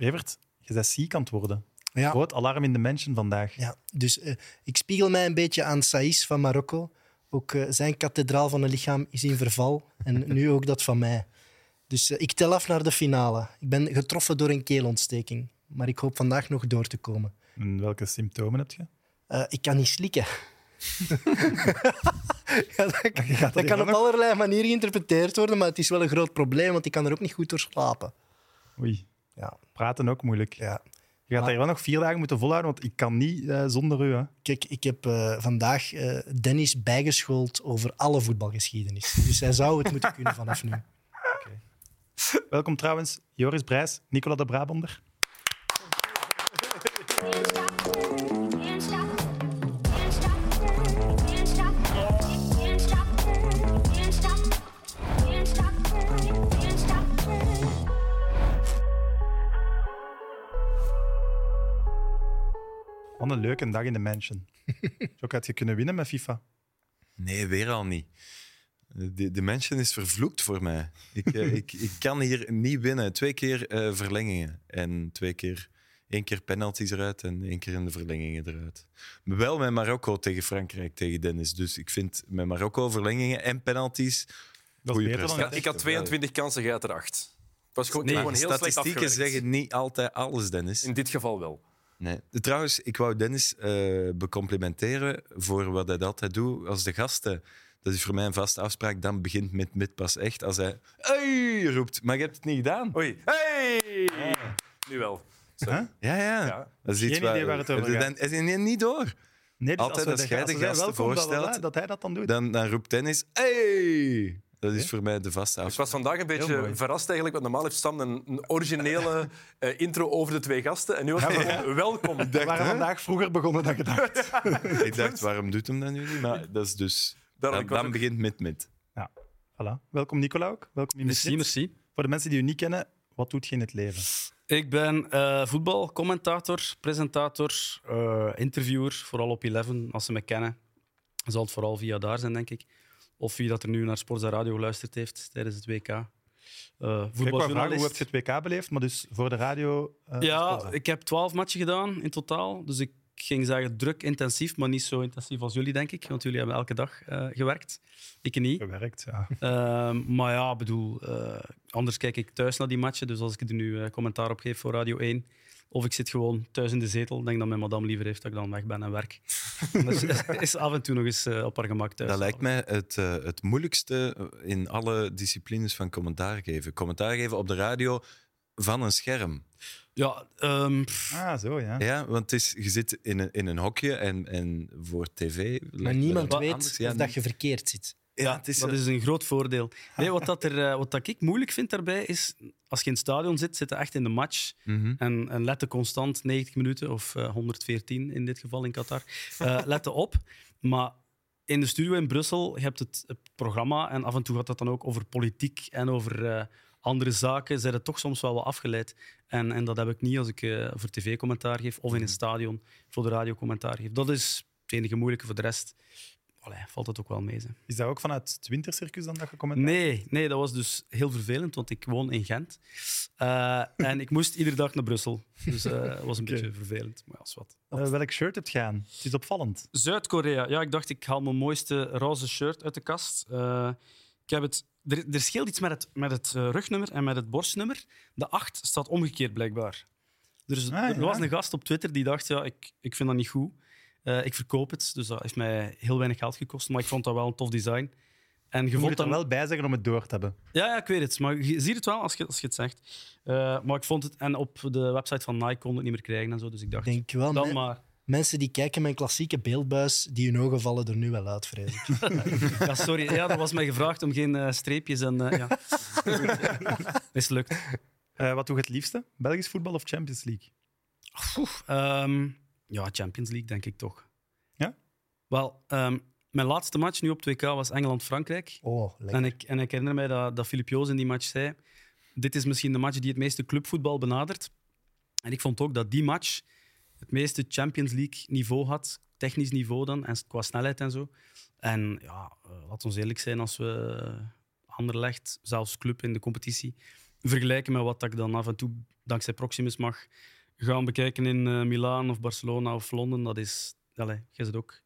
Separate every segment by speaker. Speaker 1: Evert, je bent ziek aan het worden.
Speaker 2: Ja.
Speaker 1: Groot alarm in de mensen vandaag.
Speaker 2: Ja, dus eh, ik spiegel mij een beetje aan Saïs van Marokko. Ook eh, zijn kathedraal van een lichaam is in verval. En nu ook dat van mij. Dus eh, ik tel af naar de finale. Ik ben getroffen door een keelontsteking. Maar ik hoop vandaag nog door te komen.
Speaker 1: En welke symptomen heb je?
Speaker 2: Eh, ik kan niet slikken. ja, dat kan,
Speaker 1: Je gaat
Speaker 2: dat
Speaker 1: er
Speaker 2: kan op
Speaker 1: nog-
Speaker 2: allerlei manieren geïnterpreteerd worden, maar het is wel een groot probleem, want ik kan er ook niet goed door slapen.
Speaker 1: Oei,
Speaker 2: Ja,
Speaker 1: praten ook moeilijk.
Speaker 2: ja.
Speaker 1: Je gaat
Speaker 2: Maar-
Speaker 1: daar wel nog vier dagen moeten volhouden, want ik kan niet eh, zonder u. Hè.
Speaker 2: Kijk, ik heb eh, vandaag eh, Dennis bijgeschoold over alle voetbalgeschiedenis. Dus hij zou het moeten kunnen vanaf nu.
Speaker 1: Welkom trouwens, Joris Brijs, Nicola de Brabander.
Speaker 3: Can't stop, can't stop, can't stop, can't stop, can't stop, can't stop, can't stop, can't stop.
Speaker 1: Wat een leuke dag in de mansion. Zo had je kunnen winnen met FIFA.
Speaker 4: Nee, weer al niet. De, de mensen is vervloekt voor mij. Ik, eh, ik, ik kan hier niet winnen. Twee keer eh, verlengingen. En twee keer, één keer penalties eruit en één keer in de verlengingen eruit. Maar Wel met Marokko tegen Frankrijk, tegen Dennis. Dus ik vind met Marokko verlengingen en penalties.
Speaker 1: Dat is
Speaker 4: Goeie
Speaker 1: beter dan
Speaker 4: prestatie.
Speaker 1: het
Speaker 5: Ik had 22 kansen, jij had er 8. Het was gewoon,
Speaker 4: Nee,
Speaker 5: gewoon heel slecht
Speaker 4: statistieken
Speaker 5: afgewerkt.
Speaker 4: zeggen niet altijd alles, Dennis.
Speaker 5: In dit geval wel.
Speaker 4: Nee. Trouwens, ik wou Dennis eh, becomplimenteren voor wat hij altijd doet als de gasten. Dat is voor mij een vaste afspraak. Dan begint met met pas echt als hij hey! roept. Maar je hebt het niet gedaan.
Speaker 1: Oh.
Speaker 5: Oei. Hey! Nu wel. Zo.
Speaker 1: Huh?
Speaker 4: Ja, ja.
Speaker 5: Ja.
Speaker 4: Dat is
Speaker 1: Geen
Speaker 4: iets
Speaker 1: idee waar het over
Speaker 4: Dan-
Speaker 1: gaat.
Speaker 4: Hij is niet- niet door.
Speaker 1: Nee, dus
Speaker 4: Altijd
Speaker 1: we
Speaker 4: als jij de
Speaker 1: ze zijn
Speaker 4: gasten
Speaker 1: welkom, bla, bla, bla,
Speaker 4: voorstelt,
Speaker 1: dat hij dat dan doet.
Speaker 4: Dan, dan roept Dennis hey! Dat is voor mij de vaste
Speaker 5: Ik
Speaker 4: afspraak.
Speaker 5: was vandaag een
Speaker 1: Heel mooi.
Speaker 5: beetje verrast eigenlijk, want normaal heeft Sam een, een originele eh, intro over de twee gasten. En nu was het gewoon welkom.
Speaker 1: We waren vandaag vroeger begonnen dan gedacht.
Speaker 4: Ik dacht, waarom doet hem dat nu niet? Maar dat is dus...
Speaker 5: Daarom,
Speaker 4: Dan,
Speaker 5: ik was
Speaker 4: dan
Speaker 5: ook-
Speaker 4: begint met met.
Speaker 1: Ja, voilà. Welkom Nicola ook. Welkom in de
Speaker 6: Merci, merci.
Speaker 1: Voor de mensen die u niet kennen, wat doet je in het leven?
Speaker 6: Ik ben eh voetbalcommentator, presentator, eh, interviewer, vooral op 11. Als ze me kennen, zal het vooral via daar zijn, denk ik. Of wie dat er nu naar Sportza Radio geluisterd heeft tijdens het WK. Eh
Speaker 1: Ik wou vragen,
Speaker 6: voetbaljournalist.
Speaker 1: hoe heb je het WK beleefd? Maar dus voor de radio... eh,
Speaker 6: Ja,
Speaker 1: Sporza.
Speaker 6: ik heb twaalf matchen gedaan in totaal. Dus ik ging zeggen druk, intensief, maar niet zo intensief als jullie, denk ik. Want jullie hebben elke dag eh, gewerkt. Ik niet.
Speaker 1: Gewerkt, ja.
Speaker 6: Ehm, maar ja, bedoel, eh, anders kijk ik thuis naar die matchen. Dus als ik er nu eh, commentaar op geef voor Radio 1, of ik zit gewoon thuis in de zetel, denk dat mijn madame liever heeft dat ik dan weg ben en werk. dus is af en toe nog eens eh, op haar gemak thuis.
Speaker 4: Dat lijkt mij het, eh, het moeilijkste eh, in alle disciplines van commentaar geven. Commentaar geven op de radio van een scherm.
Speaker 6: Ja, ehm, pff,
Speaker 1: Ah, zo, ja.
Speaker 4: Ja, want het is, je zit in een, in een hokje en, en voor tv...
Speaker 2: Maar niemand
Speaker 4: Wat
Speaker 2: weet
Speaker 4: anders, ja,
Speaker 2: of dat je verkeerd zit.
Speaker 4: ja, het is, eh,
Speaker 6: dat is een groot voordeel. Nee, wat, dat er, eh, wat dat ik moeilijk vind daarbij is, als je in het stadion zit, zit je echt in de match.
Speaker 4: Mhm.
Speaker 6: En, en letten constant 90 minuten, of eh, 114 in dit geval in Qatar. Eh letten op. Maar in de studio in Brussel, je hebt het, het programma en af en toe gaat dat dan ook over politiek en over eh, andere zaken. Zijn het toch soms wel wat afgeleid. En, en dat heb ik niet als ik eh, voor tv-commentaar geef of in
Speaker 4: Mhm.
Speaker 6: een stadion voor de radio commentaar geef. Dat is het enige moeilijke. Voor de rest allee, valt dat ook wel mee. Zeg.
Speaker 1: Is dat ook vanuit het wintercircus dan dat je commentaar...
Speaker 6: Nee, nee, dat was dus heel vervelend, want ik woon in Gent. Eh, en ik moest iedere dag naar Brussel. Dus eh, dat was een beetje vervelend. Maar ja, is wat.
Speaker 1: Eh, welk shirt heb je aan? Het is opvallend.
Speaker 6: Zuid-Korea. Ja, ik dacht, ik haal mijn mooiste roze shirt uit de kast. Eh, ik heb het... Er, er scheelt iets met het, met het eh, rugnummer en met het borstnummer. De 8 staat omgekeerd, blijkbaar. Dus
Speaker 1: Ah,
Speaker 6: er
Speaker 1: ja.
Speaker 6: was een gast op Twitter die dacht, ja, ik, ik vind dat niet goed. Eh, ik verkoop het, dus dat heeft mij heel weinig geld gekost. Maar ik vond dat wel een tof design. En
Speaker 1: Je
Speaker 6: je
Speaker 1: moet
Speaker 6: vond
Speaker 1: het er
Speaker 6: dat
Speaker 1: wel bij zeggen om het door te hebben.
Speaker 6: Ja, ja, ik weet het. Maar je ziet het wel als je, als je het zegt. Eh, maar ik vond het... En op de website van Nike kon ik het niet meer krijgen en zo. Dus ik
Speaker 2: Ik
Speaker 6: dacht,
Speaker 2: denk wel,
Speaker 6: dan
Speaker 2: me-
Speaker 6: maar.
Speaker 2: mensen die kijken mijn klassieke beeldbuis, die hun ogen vallen er nu wel uit, vrees ik.
Speaker 6: Ja, sorry. Ja, er was mij gevraagd om geen eh, streepjes en... eh ja. Mislukt.
Speaker 1: Eh, wat doe je het liefste? Belgisch voetbal of Champions League?
Speaker 6: Oef, ehm, ja, Champions League denk ik toch.
Speaker 1: Ja?
Speaker 6: Wel, ehm, mijn laatste match nu op 2K was Engeland-Frankrijk.
Speaker 2: Oh, lekker.
Speaker 6: En ik, en ik herinner mij dat, dat Filip Joos in die match zei: Dit is misschien de match die het meeste clubvoetbal benadert. En ik vond ook dat die match het meeste Champions League niveau had, technisch niveau dan, en qua snelheid en zo. En eh, ja, eh, laten we eerlijk zijn, als we Anderlecht, zelfs club in de competitie, vergelijken met wat ik dan af en toe dankzij Proximus mag gaan bekijken in eh Milaan of Barcelona of Londen. Dat is, allee, jij zit ook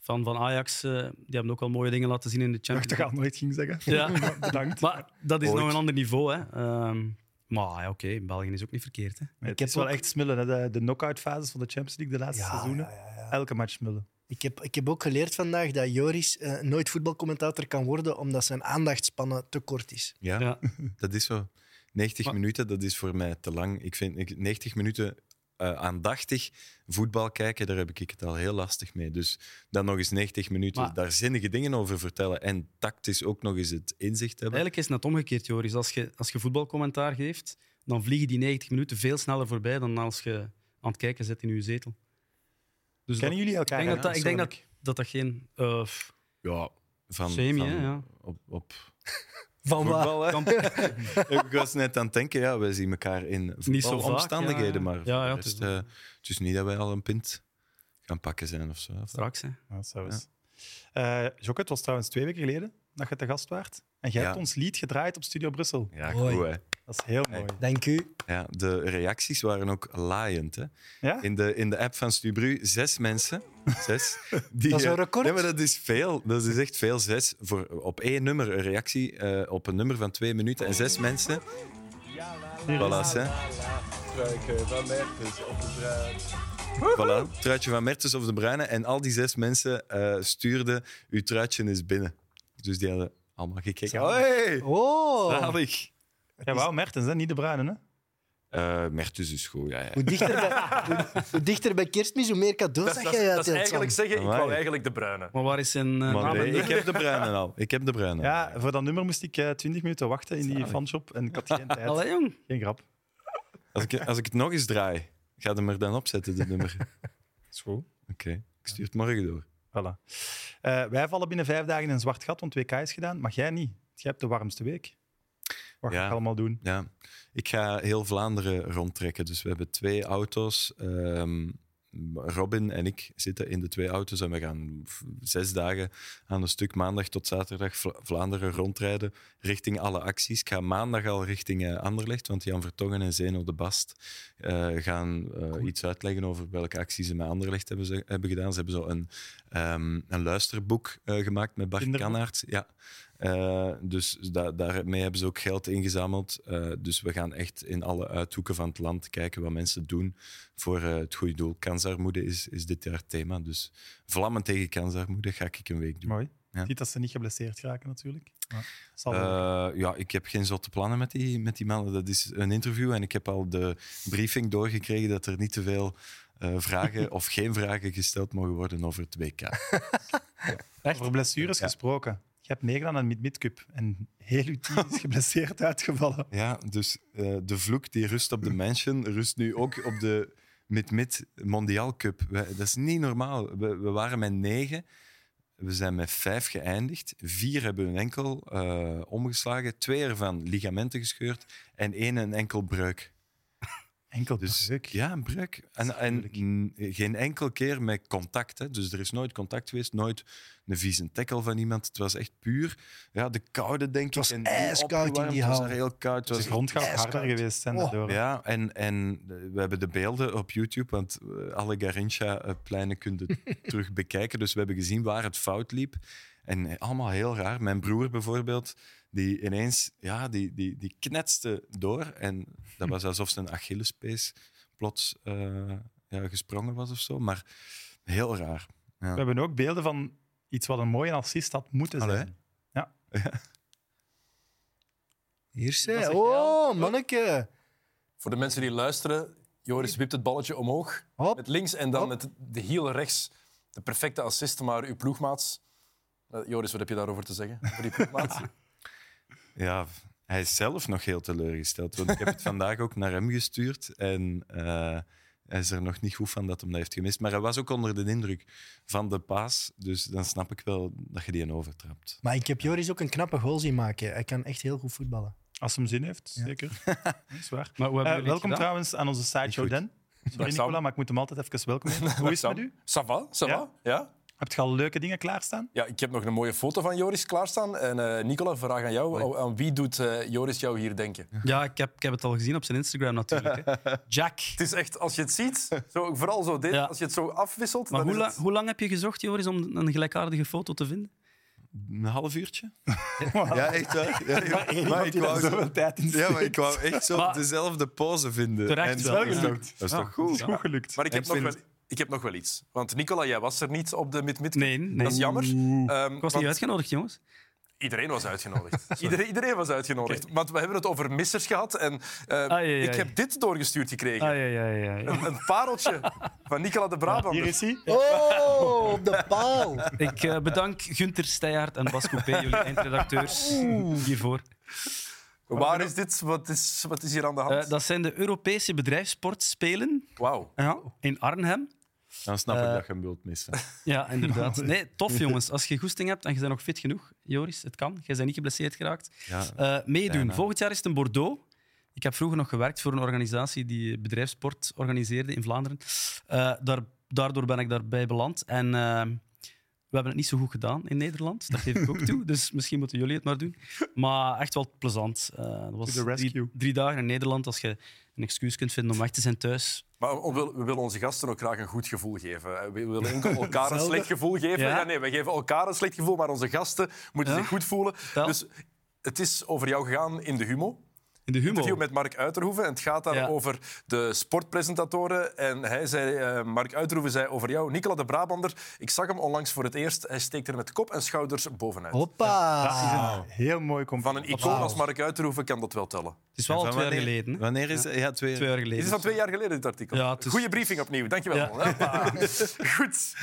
Speaker 6: fan van Ajax. eh, die hebben ook al mooie dingen laten zien in de
Speaker 1: dacht dat ik
Speaker 6: Champions
Speaker 1: het nooit ging zeggen.
Speaker 6: Ja,
Speaker 1: Maar Bedankt.
Speaker 6: maar dat is
Speaker 4: Ooit.
Speaker 6: nog een ander niveau. Hè. Ehm, maar ja, oké, België is ook niet verkeerd. Hè.
Speaker 1: Nee, het
Speaker 2: heb
Speaker 1: is wel
Speaker 2: ook-
Speaker 1: echt smullen. Hè? De, de knock-out fases van de Champions League de laatste
Speaker 2: Ja,
Speaker 1: seizoenen. Elke match smullen.
Speaker 2: Ik heb, ik heb ook geleerd vandaag dat Joris eh, nooit voetbalcommentator kan worden omdat zijn aandachtspannen te kort is.
Speaker 4: Ja,
Speaker 6: Ja.
Speaker 4: dat is zo. 90
Speaker 6: Maar-
Speaker 4: minuten, dat is voor mij te lang. Ik vind ik- 90 minuten eh, aandachtig voetbal kijken, daar heb ik het al heel lastig mee. Dus dan nog eens 90 minuten
Speaker 6: Maar-
Speaker 4: daar zinnige dingen over vertellen en tactisch ook nog eens het inzicht hebben.
Speaker 6: Eigenlijk is het net omgekeerd, Joris. Als je, als je voetbalcommentaar geeft, dan vliegen die 90 minuten veel sneller voorbij dan als je aan het kijken zit in je zetel. Dus dat-
Speaker 1: Kennen jullie elkaar?
Speaker 6: ik denk, dat,
Speaker 1: hè?
Speaker 6: dat, ik denk
Speaker 1: Zo
Speaker 6: dat, dat dat geen... eh, pff,
Speaker 4: Ja, van,
Speaker 6: Semi,
Speaker 4: van
Speaker 6: hè, ja.
Speaker 4: op, op
Speaker 2: Van waar?
Speaker 4: voetbal. hè. ik was net aan het denken, ja, wij zien elkaar in
Speaker 6: Niet zo vaak,
Speaker 4: omstandigheden,
Speaker 6: ja.
Speaker 4: maar
Speaker 6: Ja,
Speaker 4: voor
Speaker 6: ja,
Speaker 4: de
Speaker 6: het
Speaker 4: rest,
Speaker 6: is-
Speaker 4: eh, het, is, niet dat wij al een pint gaan pakken zijn of zo. Of-
Speaker 6: Straks, hè.
Speaker 1: Ja, zo is. Eh, Jocke, het was trouwens twee weken geleden dat je te gast waart. En jij
Speaker 4: Ja.
Speaker 1: hebt ons lied gedraaid op Studio Brussel.
Speaker 4: Ja,
Speaker 2: Mooi.
Speaker 4: goed, hè.
Speaker 1: Dat is heel
Speaker 4: Hey.
Speaker 1: mooi.
Speaker 2: Dank u.
Speaker 4: Ja, de reacties waren ook laaiend. Hè?
Speaker 1: Ja?
Speaker 4: In, de, in de app van Stubru, zes mensen. Zes, die,
Speaker 2: Dat is een
Speaker 4: eh,
Speaker 2: record.
Speaker 4: Nee, maar dat is veel. Dat is echt veel. Zes voor, op één nummer een reactie eh, op een nummer van twee minuten en zes mensen. Voilà, hè.
Speaker 5: van Mertens op de
Speaker 4: Voilà. Truitje van Mertens of de Bruine. En al die zes mensen eh, stuurden, uw truitje is binnen. Dus die hadden allemaal gekeken.
Speaker 1: Zalig.
Speaker 4: Hoi!
Speaker 2: Oh,
Speaker 4: Zalig!
Speaker 1: Ja, wauw, Mertens, hè? niet de Bruinen. Hè?
Speaker 4: Eh, Mertens is goed, ja. ja.
Speaker 2: hoe dichter, bij, hoe, hoe dichter bij kerstmis, hoe meer cadeaus
Speaker 5: Dat,
Speaker 2: dat,
Speaker 5: dat,
Speaker 2: jij
Speaker 5: dat
Speaker 2: uitdeelt.
Speaker 5: is eigenlijk
Speaker 2: Sam.
Speaker 5: zeggen, ik
Speaker 4: Amai.
Speaker 5: wou eigenlijk de bruine.
Speaker 6: Maar waar is zijn eh,
Speaker 4: Maar
Speaker 6: naam?
Speaker 4: nee, ik heb de Bruine al. Ik heb de Bruine al.
Speaker 1: Ja, voor dat nummer moest ik eh 20 minuten wachten in die fanshop en ik had geen tijd.
Speaker 6: Allee, jong.
Speaker 1: Geen grap.
Speaker 4: Als ik, als ik het nog eens draai, ga hem er dan opzetten, dit nummer. Oké,
Speaker 1: Is goed.
Speaker 4: ik stuur het morgen door.
Speaker 1: Voilà. Eh, wij vallen binnen vijf dagen in een zwart gat, want WK is gedaan. Maar jij niet. Jij hebt de warmste week. Wat ga
Speaker 4: Ja.
Speaker 1: ik allemaal doen?
Speaker 4: Ja. Ik ga heel Vlaanderen rondtrekken. Dus we hebben twee auto's. Ehm, Robin en ik zitten in de twee auto's en we gaan v- zes dagen aan een stuk maandag tot zaterdag Vla- Vlaanderen rondrijden richting alle acties. Ik ga maandag al richting eh, Anderlecht, want Jan Vertongen en Zeno de Bast eh, gaan eh, iets uitleggen over welke acties ze met Anderlecht hebben, ze, hebben gedaan. Ze hebben zo een, ehm, een luisterboek eh, gemaakt met Bart
Speaker 1: Kinderboek?
Speaker 4: Kanaert. Ja. Eh, dus da- daarmee hebben ze ook geld ingezameld. Eh, dus we gaan echt in alle uithoeken van het land kijken wat mensen doen voor eh, het goede doel. Kansarmoede is, is dit jaar het thema. Dus vlammen tegen kansarmoede ga ik een week doen.
Speaker 1: Mooi.
Speaker 4: Ja.
Speaker 1: Ziet dat ze niet geblesseerd raken, natuurlijk. Maar zal wel.
Speaker 4: Eh, ja, ik heb geen zotte plannen met die, met die mannen. Dat is een interview en ik heb al de briefing doorgekregen dat er niet te veel eh, vragen of geen vragen gesteld mogen worden over het WK.
Speaker 1: Over blessures
Speaker 4: Ja.
Speaker 1: gesproken. Je hebt meegedaan aan de Mid-Mid-Cup en heel uw team is geblesseerd uitgevallen.
Speaker 4: Ja, dus eh, de vloek die rust op de Mansion rust nu ook op de Mid-Mid Mondiaal Cup. We- dat is niet normaal. We, we waren met negen. We zijn met vijf geëindigd. Vier hebben hun enkel eh, omgeslagen. Twee ervan ligamenten gescheurd. En één een enkel breuk.
Speaker 1: Enkel
Speaker 4: Dus
Speaker 1: breuk.
Speaker 4: ja, een breuk. En, en n- geen enkel keer met contact. Hè. Dus er is nooit contact geweest, nooit een vieze tackle van iemand. Het was echt puur ja, de koude, denk ik.
Speaker 2: was
Speaker 4: en die
Speaker 2: ijskoud in
Speaker 4: opgewarmd.
Speaker 2: die
Speaker 4: Het was
Speaker 2: hal.
Speaker 4: daar heel koud. Het
Speaker 1: Het is
Speaker 4: was
Speaker 1: rondgaan
Speaker 2: ijskoud.
Speaker 1: harder geweest zijn
Speaker 2: Oh.
Speaker 1: daardoor.
Speaker 4: ja, en, en eh, we hebben de beelden op YouTube, want eh, alle Garincha-pleinen kunnen terug bekijken. Dus we hebben gezien waar het fout liep. En eh, allemaal heel raar. Mijn broer bijvoorbeeld, die ineens ja, die, die, die knetste door. En dat was alsof zijn Achillespees plots eh, ja, gesprongen was of zo. Maar heel raar.
Speaker 1: We hebben ook beelden van iets wat een mooie assist had moeten zijn.
Speaker 4: Allee.
Speaker 2: Hier
Speaker 1: Dat
Speaker 2: zijn.
Speaker 1: zeg jij al.
Speaker 2: Oh, manneke.
Speaker 5: Voor de mensen die luisteren, Joris wipt het balletje omhoog
Speaker 2: Hop.
Speaker 5: met links en dan
Speaker 2: Hop.
Speaker 5: met de hiel rechts. De perfecte assist, maar uw ploegmaats... Eh, Joris, wat heb je daarover te zeggen? Voor die ploegmaat?
Speaker 4: Ja, hij is zelf nog heel teleurgesteld. Want ik heb het vandaag ook naar hem gestuurd. En eh, hij is er nog niet goed van dat hem dat heeft gemist. Maar hij was ook onder de indruk van de paas. Dus dan snap ik wel dat je die een overtrapt.
Speaker 2: Maar ik heb Joris ook een knappe goal zien maken. Hij kan echt heel goed voetballen.
Speaker 1: Als hem zin heeft,
Speaker 2: Ja.
Speaker 1: zeker. Dat is waar.
Speaker 6: Maar hoe
Speaker 1: Eh,
Speaker 6: hebben jullie het
Speaker 1: welkom
Speaker 6: gedaan?
Speaker 1: trouwens aan onze
Speaker 4: Niet
Speaker 1: sideshow
Speaker 4: goed.
Speaker 1: Den. Sorry
Speaker 5: Dag Sam.
Speaker 1: Nicola, maar ik moet hem altijd even welkom heten. Hoe is het met u?
Speaker 5: Ça va? Ça va?
Speaker 1: Ja?
Speaker 5: Ja?
Speaker 1: Heb je al leuke dingen klaarstaan?
Speaker 5: Ja, ik heb nog een mooie foto van Joris klaarstaan. En eh Nicola, vraag aan jou.
Speaker 4: Hoi.
Speaker 5: Aan wie doet eh, Joris jou hier denken?
Speaker 6: Ja, ik heb, ik heb het al gezien op zijn Instagram natuurlijk. Hè. Jack.
Speaker 5: Het is echt, als je het ziet, zo, vooral zo dit,
Speaker 6: Ja.
Speaker 5: als je het zo afwisselt...
Speaker 6: Maar
Speaker 5: dan
Speaker 6: hoe,
Speaker 5: is
Speaker 6: la-
Speaker 5: het-
Speaker 6: hoe lang heb je gezocht, Joris, om een gelijkaardige foto te vinden?
Speaker 4: Een half uurtje? ja, echt waar. Ja, ja.
Speaker 1: Iemand
Speaker 4: Maar ik
Speaker 1: die daar
Speaker 4: wou
Speaker 1: zoveel
Speaker 4: zo-
Speaker 1: tijd in
Speaker 4: Ja, maar ik wou echt zo
Speaker 6: Maar-
Speaker 4: dezelfde pose vinden.
Speaker 6: Terecht
Speaker 4: En-
Speaker 6: wel,
Speaker 4: dat is
Speaker 6: ja.
Speaker 4: toch- Dat is toch goed?
Speaker 1: Goed, goed gelukt.
Speaker 5: Maar ik heb,
Speaker 4: Ik
Speaker 5: nog
Speaker 4: vind-
Speaker 5: wel, ik heb nog wel iets. Want Nicola, jij was er niet op de mid mid
Speaker 6: Nee, nee. Mm.
Speaker 5: Dat is jammer. Ehm,
Speaker 6: Ik was
Speaker 5: want
Speaker 6: niet uitgenodigd, jongens.
Speaker 5: Iedereen was uitgenodigd. iedereen, iedereen was uitgenodigd. Want we hebben het over missers gehad. En eh,
Speaker 6: ai, ai.
Speaker 5: ik heb dit doorgestuurd gekregen.
Speaker 6: ja, Ah, ja, ja.
Speaker 5: Een, een pareltje van Nicola de
Speaker 1: Hier
Speaker 5: Brabander.
Speaker 1: is hij.
Speaker 2: Oh, op de paal.
Speaker 6: Ik eh, bedank Gunther Steyaert en Bas Coupé, jullie eindredacteurs, hiervoor.
Speaker 5: Waar is dit? Wat is, wat is hier aan de hand?
Speaker 6: Eh, dat zijn de Europese bedrijfssportspelen
Speaker 5: Wauw.
Speaker 6: in Arnhem.
Speaker 4: Dan snap ik
Speaker 6: Eh,
Speaker 4: dat je hem wilt missen.
Speaker 6: Ja, inderdaad. Nee, tof jongens. Als je goesting hebt en je bent nog fit genoeg, Joris, het kan. Jij bent niet geblesseerd geraakt.
Speaker 4: Ja.
Speaker 6: Eh, meedoen.
Speaker 4: Bijna.
Speaker 6: Volgend jaar is het in Bordeaux. Ik heb vroeger nog gewerkt voor een organisatie die bedrijfssport organiseerde in Vlaanderen. Eh, daar, daardoor ben ik daarbij beland. En eh, we hebben het niet zo goed gedaan in Nederland. Dat geef ik ook toe. Dus misschien moeten jullie het maar doen. Maar echt wel plezant. Eh, dat was
Speaker 1: To the rescue.
Speaker 6: drie, drie dagen in Nederland. Als je een excuus kunt vinden om weg te zijn thuis.
Speaker 5: Maar we, wil- we willen onze gasten ook graag een goed gevoel geven. Eh, We willen enkel elkaar een
Speaker 2: Zelden.
Speaker 5: slecht gevoel geven.
Speaker 6: Ja.
Speaker 5: Ja. nee, we geven elkaar een slecht gevoel, maar onze gasten moeten
Speaker 6: Ja.
Speaker 5: zich goed voelen.
Speaker 6: Vertel.
Speaker 5: Dus het is over jou gegaan in de humo.
Speaker 6: In de
Speaker 5: interview
Speaker 6: humor.
Speaker 5: met Mark Uiterhoeven. En het gaat daar
Speaker 6: Ja.
Speaker 5: over de sportpresentatoren. En hij zei, eh, Mark Uiterhoeven zei over jou, Nicola de Brabander. Ik zag hem onlangs voor het eerst. Hij steekt er met kop en schouders bovenuit.
Speaker 6: Oh.
Speaker 2: Hoppa.
Speaker 1: Dat is een heel mooi
Speaker 5: Van
Speaker 1: compliment.
Speaker 5: een icoon als Mark Uiterhoeven kan dat wel tellen.
Speaker 6: Het is wel al
Speaker 4: Van
Speaker 6: twee jaar
Speaker 4: wanneer-
Speaker 6: geleden. hè?
Speaker 4: Wanneer is het? Ja, twee
Speaker 6: Twee jaar
Speaker 5: Dit
Speaker 6: geleden.
Speaker 5: is van twee jaar geleden, dit artikel.
Speaker 6: Ja, het is-
Speaker 5: Goeie briefing opnieuw. Dankjewel.
Speaker 6: Ja.
Speaker 5: Hoppa. Goed.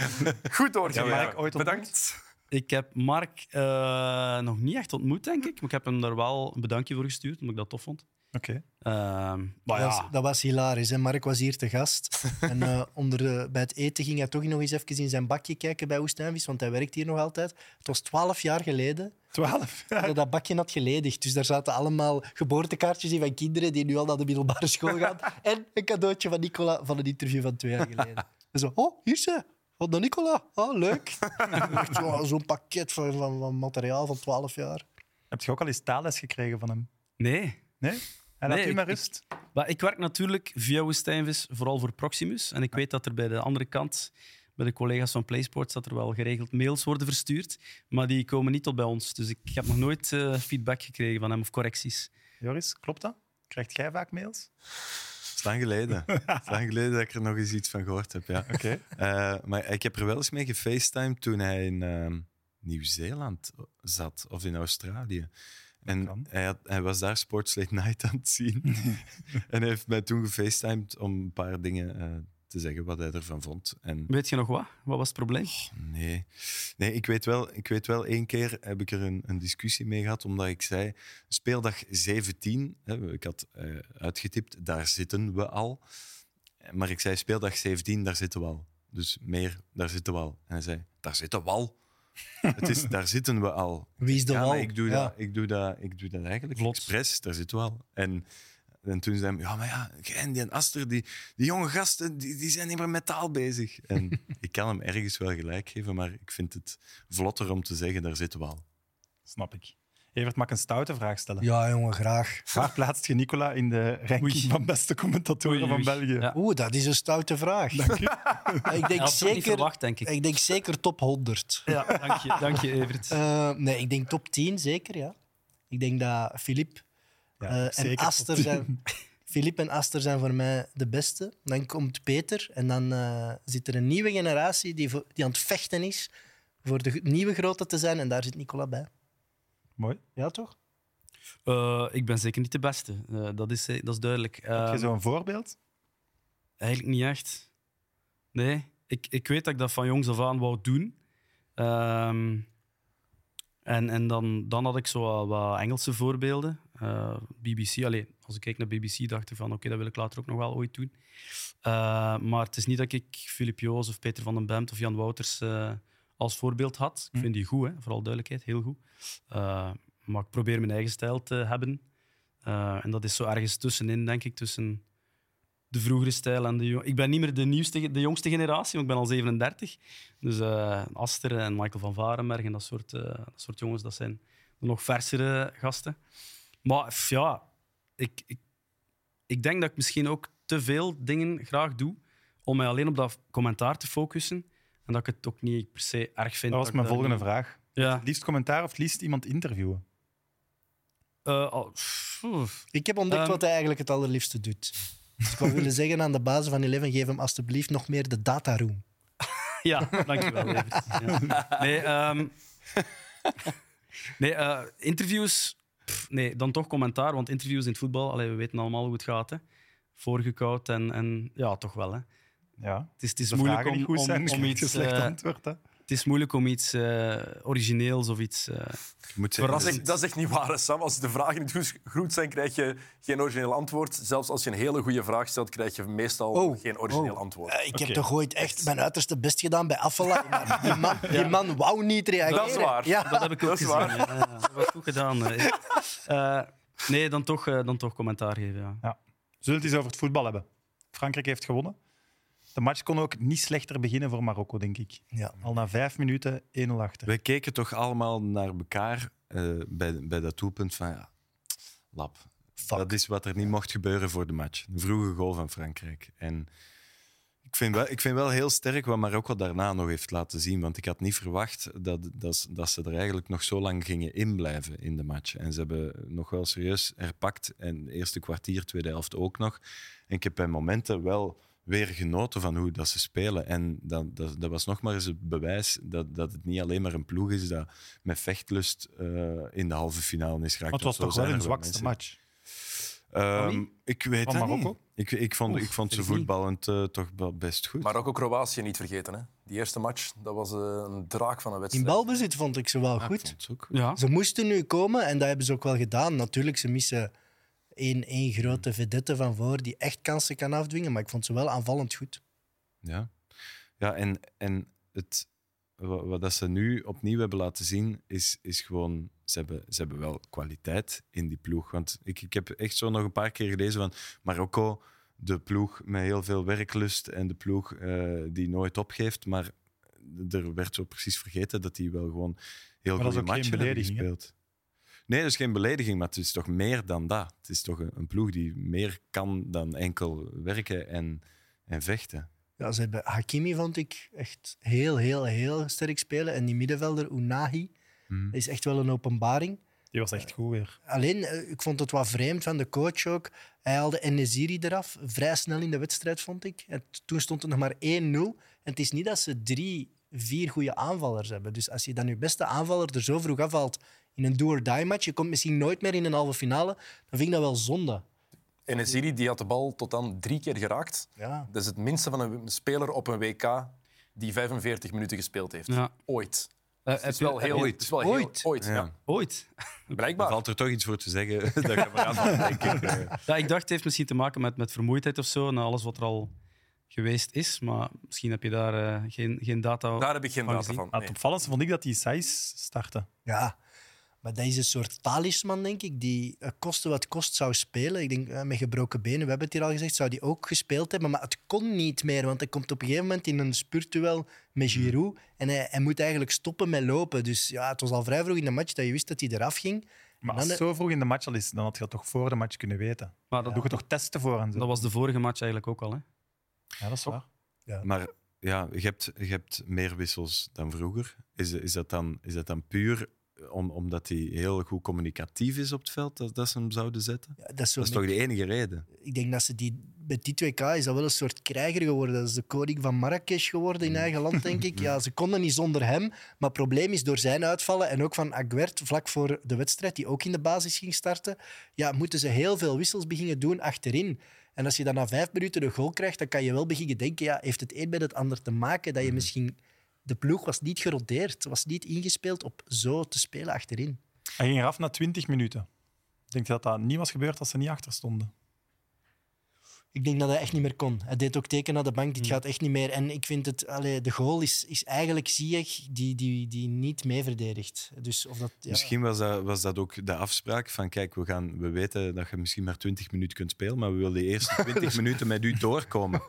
Speaker 5: Goed doorgegeven.
Speaker 1: Ja, Mark, ooit ontmoet?
Speaker 5: Bedankt.
Speaker 6: Ik heb Mark eh, nog niet echt ontmoet, denk ik. Maar ik heb hem daar wel een bedankje voor gestuurd, omdat ik dat tof vond.
Speaker 1: Oké.
Speaker 6: Ehm, maar
Speaker 2: Dat was,
Speaker 6: ja,
Speaker 2: dat was hilarisch. Hè? Mark was hier te gast. En eh, onder de- bij het eten ging hij toch nog eens even in zijn bakje kijken bij Oestijnvis, want hij werkt hier nog altijd. Het was twaalf jaar geleden
Speaker 1: 12.
Speaker 2: dat hij dat bakje had geledigd. Dus daar zaten allemaal geboortekaartjes in van kinderen die nu al naar de middelbare school gaan. En een cadeautje van Nicola van een interview van twee jaar geleden. En zo, oh, hier is ze. Van de Nicola. Oh, leuk. Echt zo- Zo'n pakket van, van, van materiaal van twaalf jaar.
Speaker 1: Heb je ook al eens taalles gekregen van hem?
Speaker 6: nee.
Speaker 1: Nee? Hij laat
Speaker 6: Nee,
Speaker 1: u
Speaker 6: ik-
Speaker 1: maar rust.
Speaker 6: Maar ik werk natuurlijk via Woestijnvis vooral voor Proximus. En ik weet dat er bij de andere kant, bij de collega's van PlaySports, dat er wel geregeld mails worden verstuurd. Maar die komen niet tot bij ons. Dus ik heb nog nooit eh, feedback gekregen van hem of correcties.
Speaker 1: Joris, klopt dat? Krijgt jij vaak mails?
Speaker 4: Het is lang geleden. Het is lang geleden dat ik er nog eens iets van gehoord heb. Ja.
Speaker 1: Oké.
Speaker 4: Eh, maar ik heb er wel eens mee gefacetimed toen hij in ehm, Nieuw-Zeeland zat of in Australië.
Speaker 1: kan.
Speaker 4: En hij, had- hij was daar Sports Late Night aan het zien. en hij heeft mij toen gefacetimed om een paar dingen eh, te zeggen wat hij ervan vond. En
Speaker 6: Weet je nog wat? Wat was het probleem?
Speaker 4: Nee, nee ik, weet wel, ik weet wel, één keer heb ik er een, een discussie mee gehad, omdat ik zei, speeldag 17, hè, ik had eh, uitgetipt, daar zitten we al. Maar ik zei, speeldag 17, daar zitten we al. Dus meer, daar zitten we al. En hij zei, daar zitten we al. Het is, daar zitten we al.
Speaker 2: Wie is de
Speaker 4: ja,
Speaker 2: wal?
Speaker 4: maar ik doe,
Speaker 2: Ja.
Speaker 4: dat, ik, doe dat, ik doe dat eigenlijk
Speaker 6: Vlot.
Speaker 4: expres, daar zitten we al. En, en toen zei hij, ja, maar ja, en die en Aster, die, die jonge gasten, die, die zijn niet meer met taal bezig. En ik kan hem ergens wel gelijk geven, maar ik vind het vlotter om te zeggen, daar zitten we al.
Speaker 1: Snap ik. Evert, mag ik een stoute vraag stellen?
Speaker 2: Ja, jongen, graag.
Speaker 1: Waar plaatst je Nicola in de ranking
Speaker 6: Oei.
Speaker 1: van beste commentatoren
Speaker 6: Oei,
Speaker 1: van
Speaker 6: oei.
Speaker 1: België?
Speaker 6: Ja.
Speaker 2: Oeh, dat is een stoute vraag. Ik
Speaker 6: Ik
Speaker 2: denk
Speaker 6: had het ook niet
Speaker 2: zeker...
Speaker 6: verwacht, denk ik.
Speaker 2: Ik denk zeker top 100.
Speaker 6: Ja, dank je, dank je Evert.
Speaker 2: Eh, nee, ik denk top 10 zeker, ja. Ik denk dat Filip
Speaker 1: Ja,
Speaker 2: eh, en
Speaker 1: zeker top
Speaker 2: Aster
Speaker 1: 10.
Speaker 2: zijn. Filip en Aster zijn voor mij de beste. Dan komt Peter en dan eh, zit er een nieuwe generatie die, voor- die aan het vechten is voor de g- nieuwe grote te zijn. En daar zit Nicola bij.
Speaker 1: Mooi.
Speaker 2: Ja, toch?
Speaker 6: Eh, ik ben zeker niet de beste. Eh, dat, is, dat is duidelijk.
Speaker 1: Heb
Speaker 6: Ehm,
Speaker 1: je zo'n voorbeeld?
Speaker 6: Eigenlijk niet echt. Nee, ik, ik weet dat ik dat van jongs af aan wou doen. Ehm, en en dan, dan had ik zo wel wat Engelse voorbeelden. Eh, BBC, alleen als ik kijk naar BBC, dacht ik van oké, dat wil ik later ook nog wel ooit doen. Eh, maar het is niet dat ik Filip Joos of Peter van den Bemt of Jan Wouters eh, als voorbeeld had. Ik vind die goed, hè, vooral duidelijkheid, heel goed. Eh, maar ik probeer mijn eigen stijl te hebben. Eh, en dat is zo ergens tussenin, denk ik, tussen de vroegere stijl. En de jo- ik ben niet meer de, nieuwste, ge- de jongste generatie, want ik ben al 37. Dus eh, Aster en Michael van Varenberg en dat soort, eh, dat soort jongens, dat zijn de nog versere gasten. Maar pff, ja, ik, ik, ik denk dat ik misschien ook te veel dingen graag doe om mij alleen op dat commentaar te focussen. En dat ik het ook niet per se erg vind.
Speaker 1: Dat was
Speaker 6: ik
Speaker 1: mijn
Speaker 6: daar
Speaker 1: volgende
Speaker 6: niet-
Speaker 1: vraag.
Speaker 6: Ja.
Speaker 1: Het liefst commentaar of het liefst iemand interviewen?
Speaker 6: Eh, al- pff, oef.
Speaker 2: Ik heb ontdekt
Speaker 6: Ehm.
Speaker 2: wat hij eigenlijk het allerliefste doet. Dus ik wou willen zeggen aan de bazen van Eleven, geef hem alstublieft nog meer de dataroom.
Speaker 6: Ja, dankjewel. Evert. Ja. Nee, ehm, nee eh, interviews. pff, nee, dan toch commentaar, want interviews in het voetbal, allee, we weten allemaal hoe het gaat. Hè. Voorgekoud en, en ja, toch wel. Hè.
Speaker 1: Ja.
Speaker 6: Het is, het is
Speaker 1: De
Speaker 6: moeilijk
Speaker 1: vragen
Speaker 6: om,
Speaker 1: die goed
Speaker 6: om-
Speaker 1: zijn,
Speaker 6: om
Speaker 1: is een
Speaker 6: iets,
Speaker 1: slecht
Speaker 6: eh,
Speaker 1: antwoord. Hè?
Speaker 6: het is moeilijk om iets eh, origineels of iets. eh,
Speaker 4: Ik moet zeggen,
Speaker 5: Dat is, echt, dat is echt niet waar, hè, Sam. Als de vragen niet goed- goed zijn, krijg je geen origineel antwoord. Zelfs als je een hele goede vraag stelt, krijg je meestal
Speaker 2: Oh.
Speaker 5: geen origineel
Speaker 2: Oh.
Speaker 5: antwoord.
Speaker 2: Eh, ik heb toch ooit echt mijn uiterste best gedaan bij Affala. Maar die man, die man wou niet reageren.
Speaker 5: Dat is waar.
Speaker 2: Ja.
Speaker 6: dat heb ik ook
Speaker 5: Dat is
Speaker 6: gezien.
Speaker 5: waar.
Speaker 6: ja, ja, ja. dat was goed gedaan. eh. Eh, nee, dan toch, eh, dan toch commentaar geven. Ja.
Speaker 1: Zullen we het eens over het voetbal hebben? Frankrijk heeft gewonnen. De match kon ook niet slechter beginnen voor Marokko, denk ik.
Speaker 2: Ja.
Speaker 1: Al na vijf minuten 1-0 achter.
Speaker 4: Wij keken toch allemaal naar elkaar eh, bij, bij dat doelpunt van ja, lap. Dat is wat er niet mocht gebeuren voor de match. Een vroege goal van Frankrijk. En ik vind wel, ik vind wel heel sterk wat Marokko daarna nog heeft laten zien. Want ik had niet verwacht dat, dat, ze- dat ze er eigenlijk nog zo lang gingen inblijven in de match. En ze hebben nog wel serieus herpakt. En eerste kwartier, tweede helft ook nog. En ik heb bij momenten wel weer genoten van hoe dat ze spelen. En dat, dat, dat was nog maar eens het bewijs dat, dat het niet alleen maar een ploeg is dat met vechtlust eh, in de halve finale is geraakt.
Speaker 1: Maar het was
Speaker 4: Want zo
Speaker 1: toch
Speaker 4: zijn
Speaker 1: wel hun
Speaker 4: er
Speaker 1: zwakste
Speaker 4: mensen.
Speaker 1: match.
Speaker 4: Ehm,
Speaker 6: Van wie?
Speaker 4: ik weet
Speaker 1: Van
Speaker 4: dat
Speaker 1: Marokko?
Speaker 4: niet. Ik, ik vond,
Speaker 6: Oef,
Speaker 4: ik vond ze
Speaker 6: weet ik niet.
Speaker 4: voetballend eh, toch wel best goed.
Speaker 5: Marokko-Kroatië niet vergeten. Hè. Die eerste match, dat was eh, een draak van een
Speaker 2: In
Speaker 5: wedstrijd.
Speaker 2: balbezit vond ik ze wel
Speaker 4: Ah, ik
Speaker 2: goed.
Speaker 4: vond ze ook goed.
Speaker 6: Ja.
Speaker 2: Ze moesten nu komen en dat hebben ze ook wel gedaan. Natuurlijk, ze missen één, één grote vedette van voor die echt kansen kan afdwingen. Maar ik vond ze wel aanvallend goed.
Speaker 4: Ja, ja en, en het, wa- wat dat ze nu opnieuw hebben laten zien, is, is gewoon... Ze hebben, ze hebben wel kwaliteit in die ploeg. Want ik, ik heb echt zo nog een paar keer gelezen van Marokko, de ploeg met heel veel werklust en de ploeg eh, die nooit opgeeft. Maar er werd zo precies vergeten dat die wel gewoon heel
Speaker 1: Maar dat is
Speaker 4: goede
Speaker 1: ook geen
Speaker 4: matchen hebben
Speaker 1: belediging, hè?
Speaker 4: gespeeld. Nee, dat is geen belediging, maar het is toch meer dan dat. Het is toch een, een ploeg die meer kan dan enkel werken en, en vechten.
Speaker 2: Ja, ze hebben Hakimi vond ik echt heel, heel, heel sterk spelen. En die middenvelder, Unahi,
Speaker 4: Mhm.
Speaker 2: dat is echt wel een openbaring.
Speaker 1: Die was echt goed weer.
Speaker 2: Alleen, eh, ik vond het wat vreemd van de coach ook. Hij haalde Enesiri eraf, vrij snel in de wedstrijd, vond ik. En t- toen stond het nog maar 1-0. En het is niet dat ze drie, vier goede aanvallers hebben. Dus als je dan je beste aanvaller er zo vroeg afvalt in een do-or-die-match, je komt misschien nooit meer in een halve finale, dan vind ik dat wel zonde.
Speaker 5: En Eziri die had de bal tot dan drie keer geraakt.
Speaker 2: Ja.
Speaker 5: Dat is het minste van een speler op een WK die 45 minuten gespeeld heeft.
Speaker 6: Ja.
Speaker 5: Ooit.
Speaker 6: Eh,
Speaker 5: Het
Speaker 6: heb
Speaker 5: is
Speaker 6: je-
Speaker 5: wel
Speaker 6: heb
Speaker 5: heel...
Speaker 6: je-
Speaker 5: het is wel heel-
Speaker 2: Ooit?
Speaker 5: Ooit, ja.
Speaker 4: Ja.
Speaker 6: Ooit.
Speaker 4: Daar
Speaker 5: Blijkbaar.
Speaker 4: valt er toch iets voor te zeggen. dat je maar aanvalt, denk ik. Eh,
Speaker 6: Ja, ik dacht, het heeft misschien te maken met, met vermoeidheid of zo, na alles wat er al geweest is. Maar misschien heb je daar eh, geen, geen data
Speaker 5: Daar heb ik geen
Speaker 6: Van
Speaker 5: data
Speaker 6: gezien.
Speaker 5: van.
Speaker 1: Ah,
Speaker 5: nee.
Speaker 1: Het opvallendste vond ik dat die Saiz startte.
Speaker 2: Ja, maar dat is een soort talisman, denk ik, die eh, koste wat kost zou spelen. Ik denk, eh, met gebroken benen, we hebben het hier al gezegd, zou die ook gespeeld hebben. Maar het kon niet meer, want hij komt op een gegeven moment in een spurtuel met Giroud. En hij, hij moet eigenlijk stoppen met lopen. Dus ja, het was al vrij vroeg in de match dat je wist dat hij eraf ging.
Speaker 1: Maar
Speaker 2: Dan
Speaker 1: als het
Speaker 2: de-
Speaker 1: zo vroeg in de match al is, dan had je dat toch voor de match kunnen weten.
Speaker 6: Maar dat,
Speaker 1: Doe je toch testen voor en zo.
Speaker 6: dat Oh. was de vorige match eigenlijk ook al. Hè?
Speaker 1: Ja, dat is waar.
Speaker 4: Maar ja, je hebt, je hebt meer wissels dan vroeger. Is, is, dat, dan, is dat dan puur om, omdat hij heel goed communicatief is op het veld, dat, dat ze hem zouden zetten?
Speaker 2: Ja, dat is zo
Speaker 4: Dat is toch
Speaker 2: met-
Speaker 4: de enige reden?
Speaker 2: Ik denk dat ze die, bij die 2K is dat wel een soort krijger geworden. Dat is de koning van Marrakesh geworden in eigen land, denk ik. Ja, ze konden niet zonder hem. Maar het probleem is door zijn uitvallen en ook van Aguert vlak voor de wedstrijd, die ook in de basis ging starten, ja, moeten ze heel veel wissels beginnen doen achterin. En als je dan na vijf minuten de goal krijgt, dan kan je wel beginnen denken, ja, heeft het een met het ander te maken dat je misschien... De ploeg was niet gerodeerd, was niet ingespeeld op zo te spelen achterin.
Speaker 1: Hij ging eraf na 20 minuten. Ik denk dat dat niet was gebeurd als ze niet achter stonden.
Speaker 2: Ik denk dat hij echt niet meer kon. Hij deed ook teken naar de bank, dit gaat echt niet meer. En ik vind het, allee, de goal is, is eigenlijk Ziyech die, die, die niet mee verdedigt. Dus of dat, ja.
Speaker 4: Misschien was dat, was dat ook de afspraak van kijk, we, gaan, we weten dat je misschien maar 20 minuten kunt spelen, maar we willen die eerste 20 minuten met u doorkomen.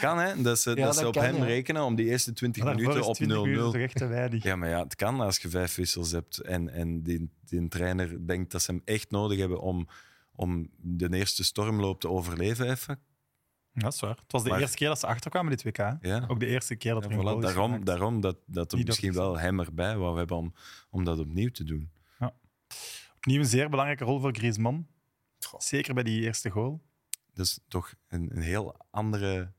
Speaker 4: Kan hè? Dat ze,
Speaker 2: Ja,
Speaker 4: dat ze
Speaker 2: dat
Speaker 4: op
Speaker 2: kan,
Speaker 4: hem
Speaker 2: ja.
Speaker 4: rekenen om die eerste 20
Speaker 1: Maar daarvoor
Speaker 4: minuten
Speaker 1: is
Speaker 4: op
Speaker 1: 20 uur
Speaker 4: 0-0.
Speaker 1: toch echt te weinig.
Speaker 4: Ja, maar ja, het kan als je vijf wissels hebt en, en die, die trainer denkt dat ze hem echt nodig hebben om, om de eerste stormloop te overleven even.
Speaker 1: Dat is waar. Het was de
Speaker 4: Maar-
Speaker 1: eerste keer dat ze achterkwamen, die 2K.
Speaker 4: Ja.
Speaker 1: Ook de eerste keer dat
Speaker 4: Ja,
Speaker 1: er een
Speaker 4: voilà,
Speaker 1: goal is
Speaker 4: daarom,
Speaker 1: gemaakt.
Speaker 4: daarom dat, dat er
Speaker 1: Niet
Speaker 4: misschien
Speaker 1: dat-
Speaker 4: wel hem erbij wou hebben om, om dat opnieuw te doen.
Speaker 1: Opnieuw een zeer belangrijke rol voor Griezmann.
Speaker 5: Goh.
Speaker 1: Zeker bij die eerste goal.
Speaker 4: Dat is toch een, een heel andere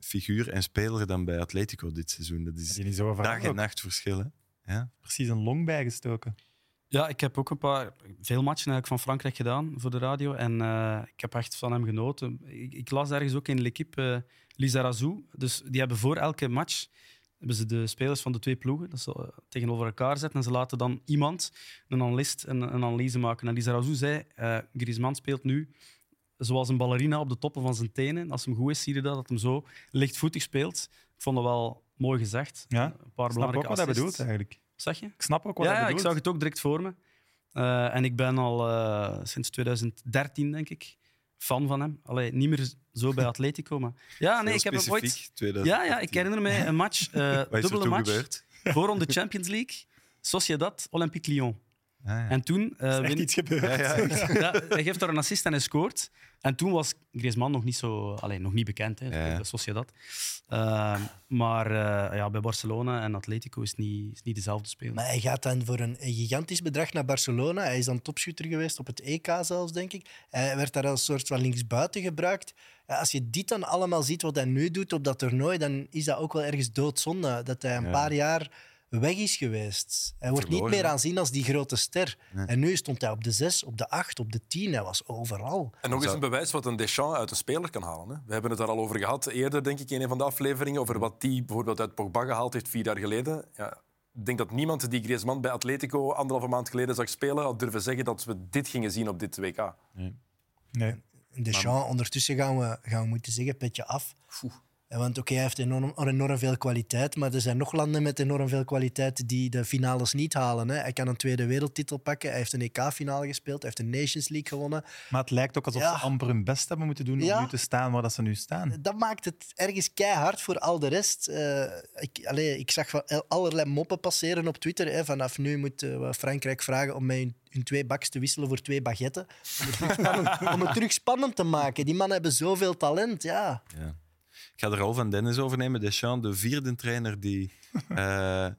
Speaker 4: figuur en speler dan bij Atletico dit seizoen. Dat is
Speaker 1: Die niet zo
Speaker 4: dag en
Speaker 1: veranderd.
Speaker 4: nacht verschil. hè. Ja?
Speaker 1: Precies een long bijgestoken.
Speaker 6: Ja, ik heb ook een paar, veel matchen eigenlijk van Frankrijk gedaan voor de radio. En eh, ik heb echt van hem genoten. Ik, ik las ergens ook in L'Equipe eh Lizarazu. Dus die hebben voor elke match hebben ze de spelers van de twee ploegen dat ze, eh, tegenover elkaar zetten. En ze laten dan iemand, een analist, een, een analyse maken. En Lizarazu zei, eh Griezmann speelt nu zoals een ballerina op de toppen van zijn tenen. Als hem goed is, zie je dat, dat hem zo lichtvoetig speelt. Ik vond dat wel mooi gezegd.
Speaker 1: Ja,
Speaker 6: een paar
Speaker 1: Ik snap ook
Speaker 6: belangrijke
Speaker 1: wat hij
Speaker 6: assists.
Speaker 1: bedoelt eigenlijk.
Speaker 6: Zeg je?
Speaker 1: Ik snap ook wat
Speaker 6: Ja,
Speaker 1: hij
Speaker 6: ja, ik
Speaker 1: bedoelt.
Speaker 6: zag het ook direct voor me. Eh, en ik ben al eh, sinds 2013, denk ik, fan van hem. Allee, niet meer zo bij Atletico, maar... Ja, Ah, nee,
Speaker 4: Heel
Speaker 6: ik heb hem
Speaker 4: specifiek,
Speaker 6: ooit...
Speaker 4: 2018.
Speaker 6: Ja, ja, ik herinner mij een match, eh,
Speaker 4: Wat is er
Speaker 6: dubbele
Speaker 4: toen
Speaker 6: match,
Speaker 4: gebeurd?
Speaker 6: voor om de Champions League, Sociedad, Olympique Lyon.
Speaker 4: Ah, ja.
Speaker 6: En toen...
Speaker 1: Er
Speaker 6: eh,
Speaker 1: is echt
Speaker 6: win-
Speaker 1: iets gebeurd.
Speaker 4: Ja, ja, echt.
Speaker 6: ja, hij geeft daar een assist en hij scoort. En toen was Griezmann nog niet, zo, alleen, nog niet bekend, hè,
Speaker 4: Ja.
Speaker 6: bij Sociedad. Eh, maar eh, ja, bij Barcelona en Atletico is het niet, is niet dezelfde speler.
Speaker 2: Maar hij gaat dan voor een een gigantisch bedrag naar Barcelona. Hij is dan topschutter geweest, op het EK zelfs, denk ik. Hij werd daar als soort van linksbuiten gebruikt. Ja, Als je dit dan allemaal ziet, wat hij nu doet op dat toernooi, dan is dat ook wel ergens doodzonde. Dat hij een
Speaker 4: Ja.
Speaker 2: paar jaar weg is geweest. Hij wordt
Speaker 4: Verloren,
Speaker 2: niet
Speaker 4: hè?
Speaker 2: meer aanzien als die grote ster.
Speaker 4: Nee.
Speaker 2: En nu stond hij op de zes, op de acht, op de tien. Hij was overal.
Speaker 5: En nog eens
Speaker 4: Zou-
Speaker 5: een bewijs wat een Deschamps uit een speler kan halen. Hè? We hebben het daar al over gehad eerder, denk ik, in een van de afleveringen. Over wat die bijvoorbeeld uit Pogba gehaald heeft vier jaar geleden. Ja, ik denk dat niemand die Griezmann bij Atletico anderhalve maand geleden zag spelen, had durven zeggen dat we dit gingen zien op dit WK.
Speaker 1: Nee.
Speaker 2: Deschamps, ondertussen gaan we, gaan we moeten zeggen, petje af. Eh, Want oké, hij heeft enorm, enorm veel kwaliteit, maar er zijn nog landen met enorm veel kwaliteit die de finales niet halen. Hè. Hij kan een tweede wereldtitel pakken, hij heeft een EK-finale gespeeld, hij heeft een Nations League gewonnen.
Speaker 1: Maar het lijkt ook alsof
Speaker 2: Ja.
Speaker 1: ze amper hun best hebben moeten doen om
Speaker 2: Ja.
Speaker 1: nu te staan waar dat ze nu staan.
Speaker 2: Dat maakt het ergens keihard voor al de rest. Eh, ik, allee, ik zag wel allerlei moppen passeren op Twitter. Hè. Vanaf nu moet eh, Frankrijk vragen om mij hun, hun twee baks te wisselen voor twee baguetten. Om het, terug spannend, om het terug spannend te maken. Die mannen hebben zoveel talent, ja.
Speaker 4: Ja. Ik ga de rol van Dennis overnemen. Deschamps, de vierde trainer die eh, eh,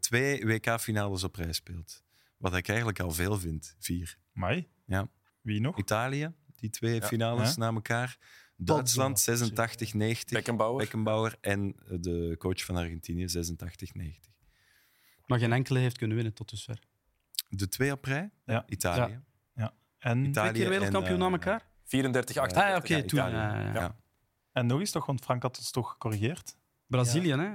Speaker 4: twee WK-finales op rij speelt. Wat ik eigenlijk al veel vind. Vier.
Speaker 1: Mai?
Speaker 4: Ja.
Speaker 1: Wie nog?
Speaker 4: Italië, die twee finales
Speaker 1: Ja.
Speaker 4: na elkaar. Duitsland, 86, 90.
Speaker 5: Beckenbauer.
Speaker 4: Beckenbauer en eh, de coach van Argentinië, 86, 90.
Speaker 6: Maar geen enkele heeft kunnen winnen tot dusver.
Speaker 4: De twee op rij?
Speaker 1: Ja.
Speaker 4: Italië.
Speaker 1: En,
Speaker 4: Italië
Speaker 6: Twee keer wereldkampioen
Speaker 4: en, eh,
Speaker 6: na elkaar?
Speaker 5: 34, 8.
Speaker 6: ah, ja, oké,
Speaker 4: ja,
Speaker 6: toen.
Speaker 4: Italië.
Speaker 6: ja, ja.
Speaker 4: Ja.
Speaker 1: en nog eens toch, want Frank had ons toch gecorrigeerd.
Speaker 6: Brazilië, hè? Eh,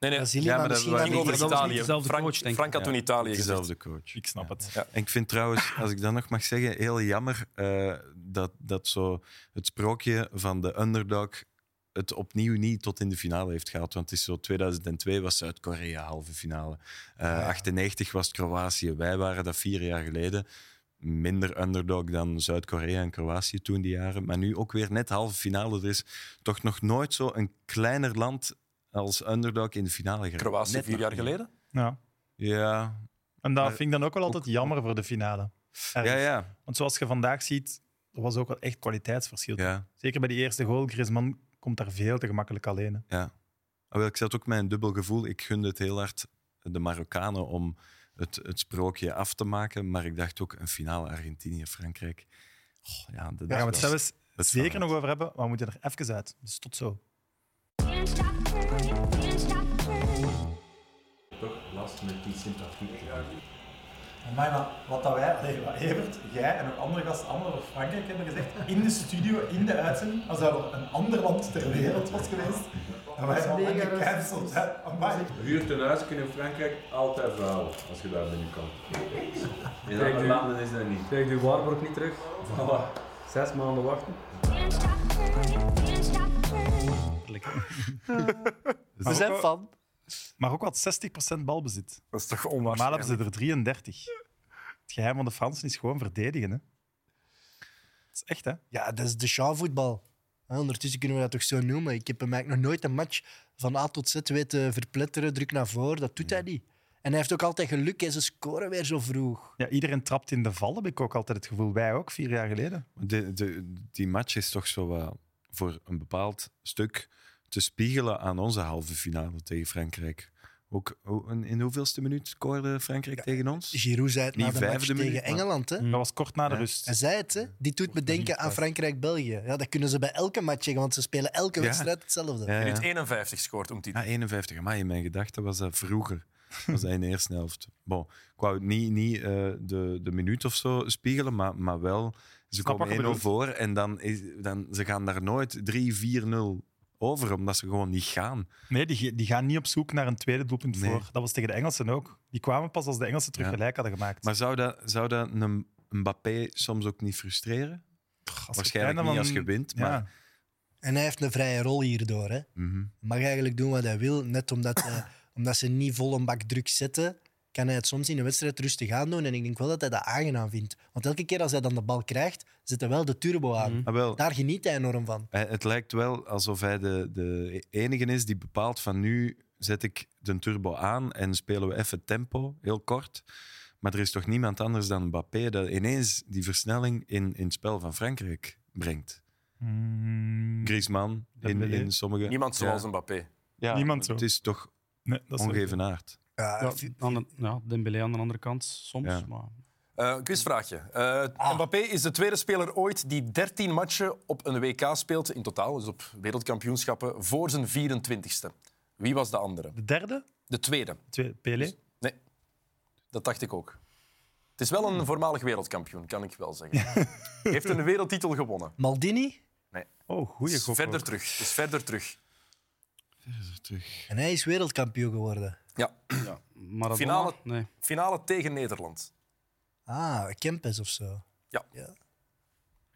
Speaker 5: Nee, nee.
Speaker 2: Brazilië,
Speaker 4: Ja, maar
Speaker 2: maar misschien...
Speaker 4: dat- dat
Speaker 5: Het ging
Speaker 2: hadden
Speaker 5: over
Speaker 2: die-
Speaker 6: dat was niet
Speaker 5: Italië.
Speaker 6: dezelfde
Speaker 5: Frank,
Speaker 6: coach, denk ik.
Speaker 5: Frank had toen
Speaker 4: Ja.
Speaker 5: Italië gezegd.
Speaker 4: Dezelfde coach.
Speaker 1: Ik snap het.
Speaker 4: En ik vind trouwens, als ik dat nog mag zeggen, heel jammer eh, dat, dat zo het sprookje van de underdog het opnieuw niet tot in de finale heeft gehaald. Want het is zo, 2002 was Zuid-Korea halve finale. Eh 98 was het Kroatië. Wij waren dat vier jaar geleden. Minder underdog dan Zuid-Korea en Kroatië toen die jaren. Maar nu ook weer net halve finale. Er is toch nog nooit zo een kleiner land als underdog in de finale geraakt.
Speaker 5: Kroatië
Speaker 4: Net
Speaker 5: vier
Speaker 4: nog
Speaker 5: jaar
Speaker 4: niet.
Speaker 5: geleden.
Speaker 1: Ja.
Speaker 4: Ja,
Speaker 1: En dat
Speaker 4: Maar-
Speaker 1: vind ik dan ook wel altijd
Speaker 4: ook-
Speaker 1: jammer voor de finale.
Speaker 4: ja, ja.
Speaker 1: Want zoals je vandaag ziet, er was ook wel echt kwaliteitsverschil.
Speaker 4: ja.
Speaker 1: Zeker bij die eerste goal, Griezmann komt daar veel te gemakkelijk alleen. hè.
Speaker 4: Ja. Ah, wel, ik zat ook met een dubbel gevoel. Ik gunde het heel hard de Marokkanen om het, het sprookje af te maken. Maar ik dacht ook een finale Argentinië-Frankrijk. Oh, ja, dat
Speaker 1: Daar gaan we
Speaker 4: is
Speaker 1: het
Speaker 4: wel-
Speaker 1: zelfs
Speaker 4: dat is
Speaker 1: zeker
Speaker 4: wel-
Speaker 1: nog over hebben, maar we moeten er even uit. Dus tot zo. Maar wat dat wij, allee, wat Evert, jij en ook andere gasten, allemaal over Frankrijk hebben gezegd, in de studio, in de uitzending, als dat wel een ander land ter wereld was geweest, dan wij allemaal gecanceld. hè. Amai.
Speaker 7: Huurt een huis kunnen in Frankrijk altijd vrouwen als je daar binnenkomt. In
Speaker 8: Kijk,
Speaker 7: andere
Speaker 8: u-
Speaker 7: landen is dat niet.
Speaker 8: Krijg je uw waarborg niet terug?
Speaker 7: Voilà.
Speaker 8: Zes maanden wachten.
Speaker 2: We zijn fan.
Speaker 8: Maar ook wat 60% balbezit.
Speaker 5: Dat is toch
Speaker 8: Normaal hebben
Speaker 5: onwaarschijnlijk.
Speaker 8: ze er 33. Het geheim van de Fransen is gewoon verdedigen. Hè. Dat is echt, hè?
Speaker 2: Ja, dat is de Shaw-voetbal. Hè, Ondertussen kunnen we dat toch zo noemen. Ik heb hem eigenlijk nog nooit een match van A tot Z weten verpletteren, druk naar voren. Dat doet hij niet. En hij heeft ook altijd geluk en ze scoren weer zo vroeg.
Speaker 8: Ja, iedereen trapt in de val, heb ik ook altijd het gevoel. Wij ook, vier jaar geleden.
Speaker 4: De, de, die match is toch zo wat voor een bepaald stuk te spiegelen aan onze halve finale tegen Frankrijk. Ook, hoe- in- in hoeveelste minuut scoorde Frankrijk tegen ons?
Speaker 2: Giroud zei het na
Speaker 4: Niet
Speaker 2: de match
Speaker 4: vijfde
Speaker 2: tegen
Speaker 4: minuut, maar-
Speaker 2: Engeland. Hè?
Speaker 8: Dat was kort na de
Speaker 4: Hmm. Ja.
Speaker 8: rust.
Speaker 2: Hij zei het, hè? dit doet me denken aan Frankrijk-België. Ja, dat kunnen ze bij elke match zeggen, want ze spelen elke
Speaker 4: Ja.
Speaker 2: wedstrijd hetzelfde.
Speaker 4: Ja,
Speaker 5: Minuut
Speaker 4: ja.
Speaker 5: 51 scoort om
Speaker 4: ja 51. Maar in mijn gedachten was dat vroeger. Was dat in de eerste helft. Bon, ik wou het niet, niet eh, de, de minuut of zo spiegelen, maar, maar wel. Ze
Speaker 8: wat je
Speaker 4: komen 1-0
Speaker 8: bedoelt.
Speaker 4: voor en dan, is, dan ze gaan daar nooit 3-4-0 over, omdat ze gewoon niet gaan.
Speaker 8: Nee, die, die gaan niet op zoek naar een tweede doelpunt
Speaker 4: Nee.
Speaker 8: voor. Dat was tegen de Engelsen ook. Die kwamen pas als de Engelsen terug
Speaker 4: Ja.
Speaker 8: gelijk hadden gemaakt.
Speaker 4: Maar zou dat, zou dat een Mbappé soms ook niet frustreren?
Speaker 8: Als je
Speaker 4: Waarschijnlijk
Speaker 8: kleiner
Speaker 4: niet
Speaker 8: dan-
Speaker 4: als je wint,
Speaker 8: Ja.
Speaker 4: maar...
Speaker 2: En hij heeft een vrije rol hierdoor. Hè?
Speaker 4: Mhm.
Speaker 2: mag eigenlijk doen wat hij wil. Net omdat, hij- omdat ze niet vol een bak druk zetten, kan hij het soms in een wedstrijd rustig aan doen. En ik denk wel dat hij dat aangenaam vindt. Want elke keer als hij dan de bal krijgt, zet hij wel de turbo aan.
Speaker 8: Mhm.
Speaker 4: Ah, wel,
Speaker 2: Daar geniet hij enorm van.
Speaker 4: eh, het lijkt wel alsof hij de, de enige is die bepaalt van nu zet ik de turbo aan en spelen we even tempo, heel kort. Maar er is toch niemand anders dan Mbappé dat ineens die versnelling in, in het spel van Frankrijk brengt.
Speaker 8: Mm,
Speaker 4: Griezmann in,
Speaker 8: Dembélé.
Speaker 4: in sommige...
Speaker 5: Niemand
Speaker 4: Ja.
Speaker 5: zoals Mbappé.
Speaker 4: Ja,
Speaker 8: Niemand zo.
Speaker 4: Het is toch
Speaker 8: nee, dat is
Speaker 4: ongevenaard.
Speaker 2: Ja,
Speaker 6: Ja,
Speaker 2: v-
Speaker 6: aan de, ja, Dembélé aan de andere kant soms.
Speaker 4: Ja.
Speaker 6: Maar
Speaker 5: Eh, Een quizvraagje. Eh, Mbappé is de tweede speler ooit die 13 matchen op een WK speelt in totaal, dus op wereldkampioenschappen, voor zijn 24ste. Wie was de andere?
Speaker 8: De derde?
Speaker 5: De tweede.
Speaker 8: Twee, E?
Speaker 4: Dus
Speaker 8: Pelé?
Speaker 5: Nee, dat dacht ik ook. Het is wel een voormalig wereldkampioen, kan ik wel zeggen. Heeft een wereldtitel gewonnen.
Speaker 2: Maldini,
Speaker 8: Oh, goeie
Speaker 5: Dus
Speaker 8: gok.
Speaker 5: verder
Speaker 8: ook.
Speaker 5: terug. Dus verder terug.
Speaker 2: en hij is wereldkampioen geworden.
Speaker 5: Ja,
Speaker 6: Maradona?
Speaker 5: Finale-
Speaker 6: Nee.
Speaker 5: finale tegen Nederland.
Speaker 2: Ah, Kempes of zo.
Speaker 5: Ja.
Speaker 2: Oh,
Speaker 8: Heel
Speaker 2: ik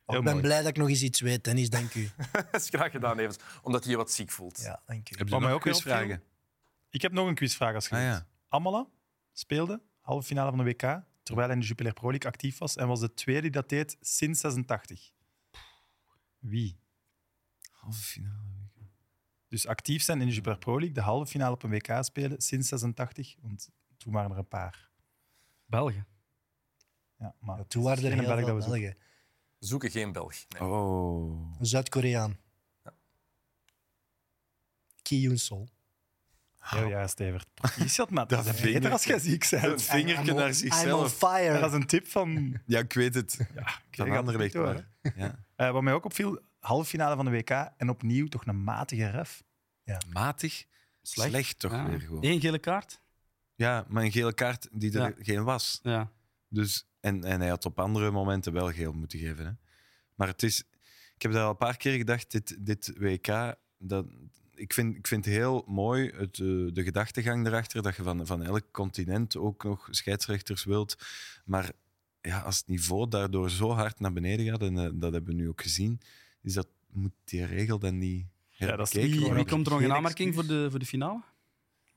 Speaker 2: ben
Speaker 8: mooi.
Speaker 2: blij dat ik nog eens iets weet, Dennis. Dank u.
Speaker 5: Dat is graag gedaan, Evans. Omdat je je wat ziek voelt.
Speaker 2: Ja, dank u.
Speaker 4: Heb
Speaker 8: Wat
Speaker 4: je
Speaker 8: mij
Speaker 4: nog
Speaker 8: ook weer
Speaker 4: quizvragen?
Speaker 8: Ik heb nog een quizvraag als
Speaker 4: Ah
Speaker 8: geweest.
Speaker 4: ja.
Speaker 8: Amala speelde halve finale van de WK, terwijl hij in de Jupiler Pro League actief was en was de tweede die dat deed sinds 86. Wie?
Speaker 4: Halve finale.
Speaker 8: Dus actief zijn in de Jupiler Pro League, de halve finale op een WK spelen sinds 86, want toen waren er een paar.
Speaker 6: België.
Speaker 8: Ja, maar
Speaker 2: Ja, toen waren er
Speaker 8: Geen
Speaker 2: heel
Speaker 8: Belg
Speaker 2: veel
Speaker 8: dat we zoeken.
Speaker 2: Belgen.
Speaker 5: We zoeken geen Belg. Nee.
Speaker 4: Oh.
Speaker 2: Een Zuid-Koreaan.
Speaker 5: Ja.
Speaker 2: Ki Yoon-sol.
Speaker 8: Heel ja, Stevert. Ah, Precies, dat maar.
Speaker 4: Dat
Speaker 8: Dat is beter
Speaker 4: vingertje.
Speaker 8: als jij ziek
Speaker 4: Het
Speaker 8: bent.
Speaker 4: vingertje
Speaker 2: I'm on-
Speaker 4: naar
Speaker 2: I'm on
Speaker 4: zichzelf.
Speaker 2: fire.
Speaker 8: Dat is een tip van,
Speaker 4: Ja, ik weet het.
Speaker 8: van
Speaker 4: Van Anderlecht.
Speaker 8: hoor.
Speaker 4: maar. Ja.
Speaker 8: Eh, wat mij ook opviel, halve finale van de WK en opnieuw toch een matige ref.
Speaker 4: Matig. Slecht, toch
Speaker 6: Ja.
Speaker 4: weer gewoon.
Speaker 6: Eén gele kaart?
Speaker 4: Ja, maar een gele kaart die er
Speaker 6: Ja.
Speaker 4: geen was.
Speaker 6: Ja.
Speaker 4: Dus, en, en hij had op andere momenten wel geel moeten geven. Hè? Maar het is, ik heb daar al een paar keer gedacht, dit, dit WK, dat, ik, vind, ik vind heel mooi het, eh, de gedachtegang erachter, dat je van, van elk continent ook nog scheidsrechters wilt. Maar ja, als het niveau daardoor zo hard naar beneden gaat, en eh, dat hebben we nu ook gezien, is dat, moet die regel dan niet
Speaker 8: Ja, dat is
Speaker 4: herbekeken
Speaker 8: niet-
Speaker 6: Wie,
Speaker 4: worden?
Speaker 6: wie komt er nog in
Speaker 8: Geen
Speaker 6: aanmerking voor
Speaker 8: excuus.
Speaker 6: de, voor de finale?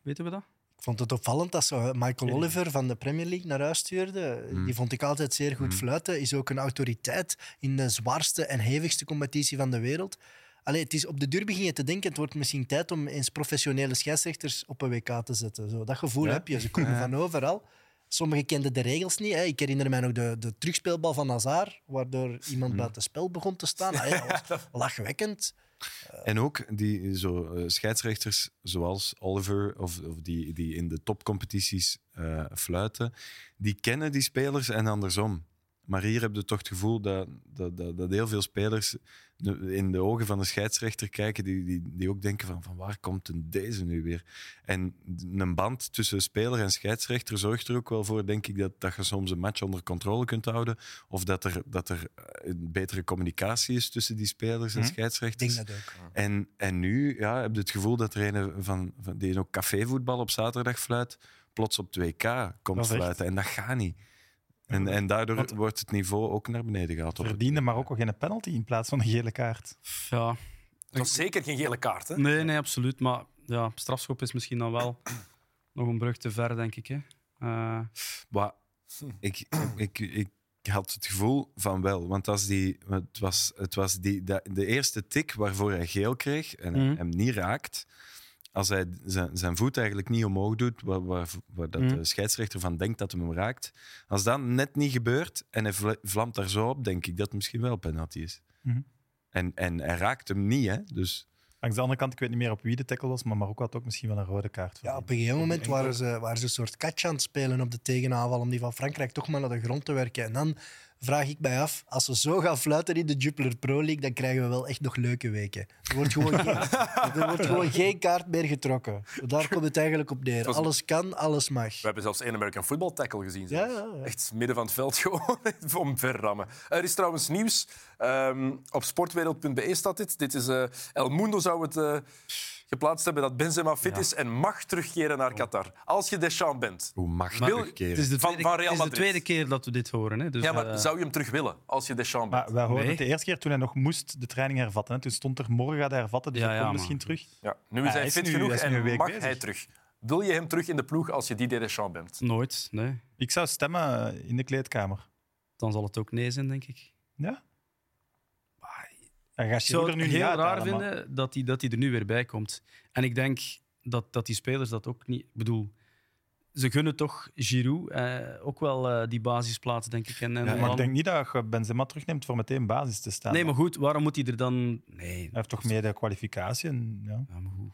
Speaker 6: Weten we dat?
Speaker 2: Ik vond het opvallend dat ze Michael Oliver van de Premier League naar huis stuurde.
Speaker 4: Mm.
Speaker 2: Die vond ik altijd zeer goed fluiten. Is ook een autoriteit in de zwaarste en hevigste competitie van de wereld. Allee, het is op de duur begin je te denken, het wordt misschien tijd om eens professionele scheidsrechters op een WK te zetten. Zo, dat gevoel
Speaker 4: Ja?
Speaker 2: heb je. Ze komen van overal. Sommigen kenden de regels niet. Hè. Ik herinner mij nog de, de terugspeelbal van Hazard, waardoor iemand
Speaker 4: Mm.
Speaker 2: buiten spel begon te staan. Allee, dat was lachwekkend.
Speaker 4: En ook die zo, eh, scheidsrechters zoals Oliver, of, of die, die in de topcompetities eh, fluiten, die kennen die spelers en andersom. Maar hier heb je toch het gevoel dat, dat, dat, dat heel veel spelers de- in de ogen van de scheidsrechter kijken, die, die, die ook denken van, van waar komt een deze nu weer? En een band tussen speler en scheidsrechter zorgt er ook wel voor, denk ik, dat, dat je soms een match onder controle kunt houden. Of dat er, dat er eh, een betere communicatie is tussen die spelers
Speaker 8: Mhm.
Speaker 2: Hm?
Speaker 4: en
Speaker 2: Ik denk
Speaker 4: scheidsrechters.
Speaker 2: dat ook.
Speaker 4: En, en nu ja, heb je het gevoel dat er een van, van die ook cafévoetbal op zaterdag fluit, plots op 2K
Speaker 8: Dat
Speaker 4: komt
Speaker 8: is echt-
Speaker 4: fluiten. En dat gaat niet. En, en daardoor
Speaker 8: Want-
Speaker 4: wordt het niveau ook naar beneden gehaald. op het-
Speaker 8: Verdiende Marokko geen penalty in plaats van een gele kaart?
Speaker 6: Pff, Ja,
Speaker 5: Het was zeker geen gele kaart.
Speaker 4: eh,
Speaker 5: Hè?
Speaker 6: nee, nee, absoluut. Maar ja, strafschop is misschien dan wel nog een brug te ver, denk ik. Hè. Eh,
Speaker 4: Maar ik, ik, ik had het gevoel van wel. Want als die, het was, het was die, de, de eerste tik waarvoor hij geel kreeg en hij
Speaker 6: Mhm.
Speaker 4: hem niet raakt. Als hij zijn, zijn voet eigenlijk niet omhoog doet, waar, waar, waar dat
Speaker 6: Mhm.
Speaker 4: de scheidsrechter van denkt dat hem hem raakt. Als dat net niet gebeurt en hij vla- vlamt daar zo op, denk ik dat het misschien wel penalty is.
Speaker 8: Mhm.
Speaker 4: En, en hij raakt hem niet, hè? Dus
Speaker 8: Langs de andere kant, ik weet niet meer op wie de tackle was, maar Marokko had ook misschien wel een rode kaart.
Speaker 2: Ja,
Speaker 8: verdiend.
Speaker 2: op een gegeven moment
Speaker 8: enkel.
Speaker 2: waren ze, waren ze een soort catch aan het spelen op de tegenaanval om die van Frankrijk toch maar naar de grond te werken. En dan vraag ik mij af, als ze zo gaan fluiten in de Jupiler Pro League, dan krijgen we wel echt nog leuke weken. Er wordt gewoon geen, er wordt gewoon geen kaart meer getrokken. Daar komt het eigenlijk op neer.
Speaker 5: was-
Speaker 2: Alles kan, alles mag.
Speaker 5: We hebben zelfs een American football tackle gezien.
Speaker 2: Ja,
Speaker 5: zelfs.
Speaker 2: ja, ja.
Speaker 5: Echt midden van het veld gewoon omverrammen. Er is trouwens nieuws. Ehm, op sportwereld.be staat dit. dit is, eh, El Mundo zou het eh, geplaatst hebben dat Benzema fit is en mag terugkeren naar Qatar. Als je Deschamps bent.
Speaker 4: hoe mag
Speaker 5: Maar-
Speaker 4: dat
Speaker 6: het is
Speaker 5: Van-
Speaker 6: de tweede,
Speaker 5: van
Speaker 6: het
Speaker 5: Real
Speaker 6: is de
Speaker 5: Madrid.
Speaker 6: tweede keer dat we dit horen. Hè. Dus,
Speaker 5: Ja, maar
Speaker 6: eh,
Speaker 5: zou je hem terug willen als je Deschamps bent?
Speaker 8: Maar wij hoorden
Speaker 6: Nee.
Speaker 8: het de eerste keer toen hij nog moest de training hervatten. Hè. Toen stond er morgen gaat hij hervatten, dus
Speaker 6: Ja,
Speaker 8: hij
Speaker 6: ja,
Speaker 8: komt
Speaker 6: man.
Speaker 8: misschien terug.
Speaker 5: Ja, nu is
Speaker 8: Ja,
Speaker 5: hij,
Speaker 8: hij is
Speaker 5: fit
Speaker 8: nu-
Speaker 5: genoeg
Speaker 8: hij is nu een
Speaker 5: en
Speaker 8: week
Speaker 5: mag
Speaker 8: bezig.
Speaker 5: hij terug. Wil je hem terug in de ploeg als je Didier Deschamps bent?
Speaker 6: Nooit, nee.
Speaker 8: Ik zou stemmen eh, in de kleedkamer.
Speaker 6: Dan zal het ook nee zijn, denk ik.
Speaker 8: Ja?
Speaker 6: Maar
Speaker 8: Dan gaat
Speaker 6: Ik zou
Speaker 8: Giroud
Speaker 6: het
Speaker 8: er nu niet
Speaker 6: heel
Speaker 8: uit
Speaker 6: raar
Speaker 8: halen, maar-
Speaker 6: vinden dat hij, dat hij er nu weer bij komt. En ik denk dat, dat die spelers dat ook niet... Ik bedoel, ze gunnen toch Giroud eh, ook wel eh, die basisplaats, denk ik. En, en
Speaker 4: Ja,
Speaker 8: Maar
Speaker 6: dan-
Speaker 8: ik denk niet dat je Benzema terugneemt voor meteen basis te staan.
Speaker 6: Nee, maar goed, waarom moet hij er dan... Nee,
Speaker 8: Hij heeft toch meer de kwalificatie. En, ja.
Speaker 6: ja, maar goed.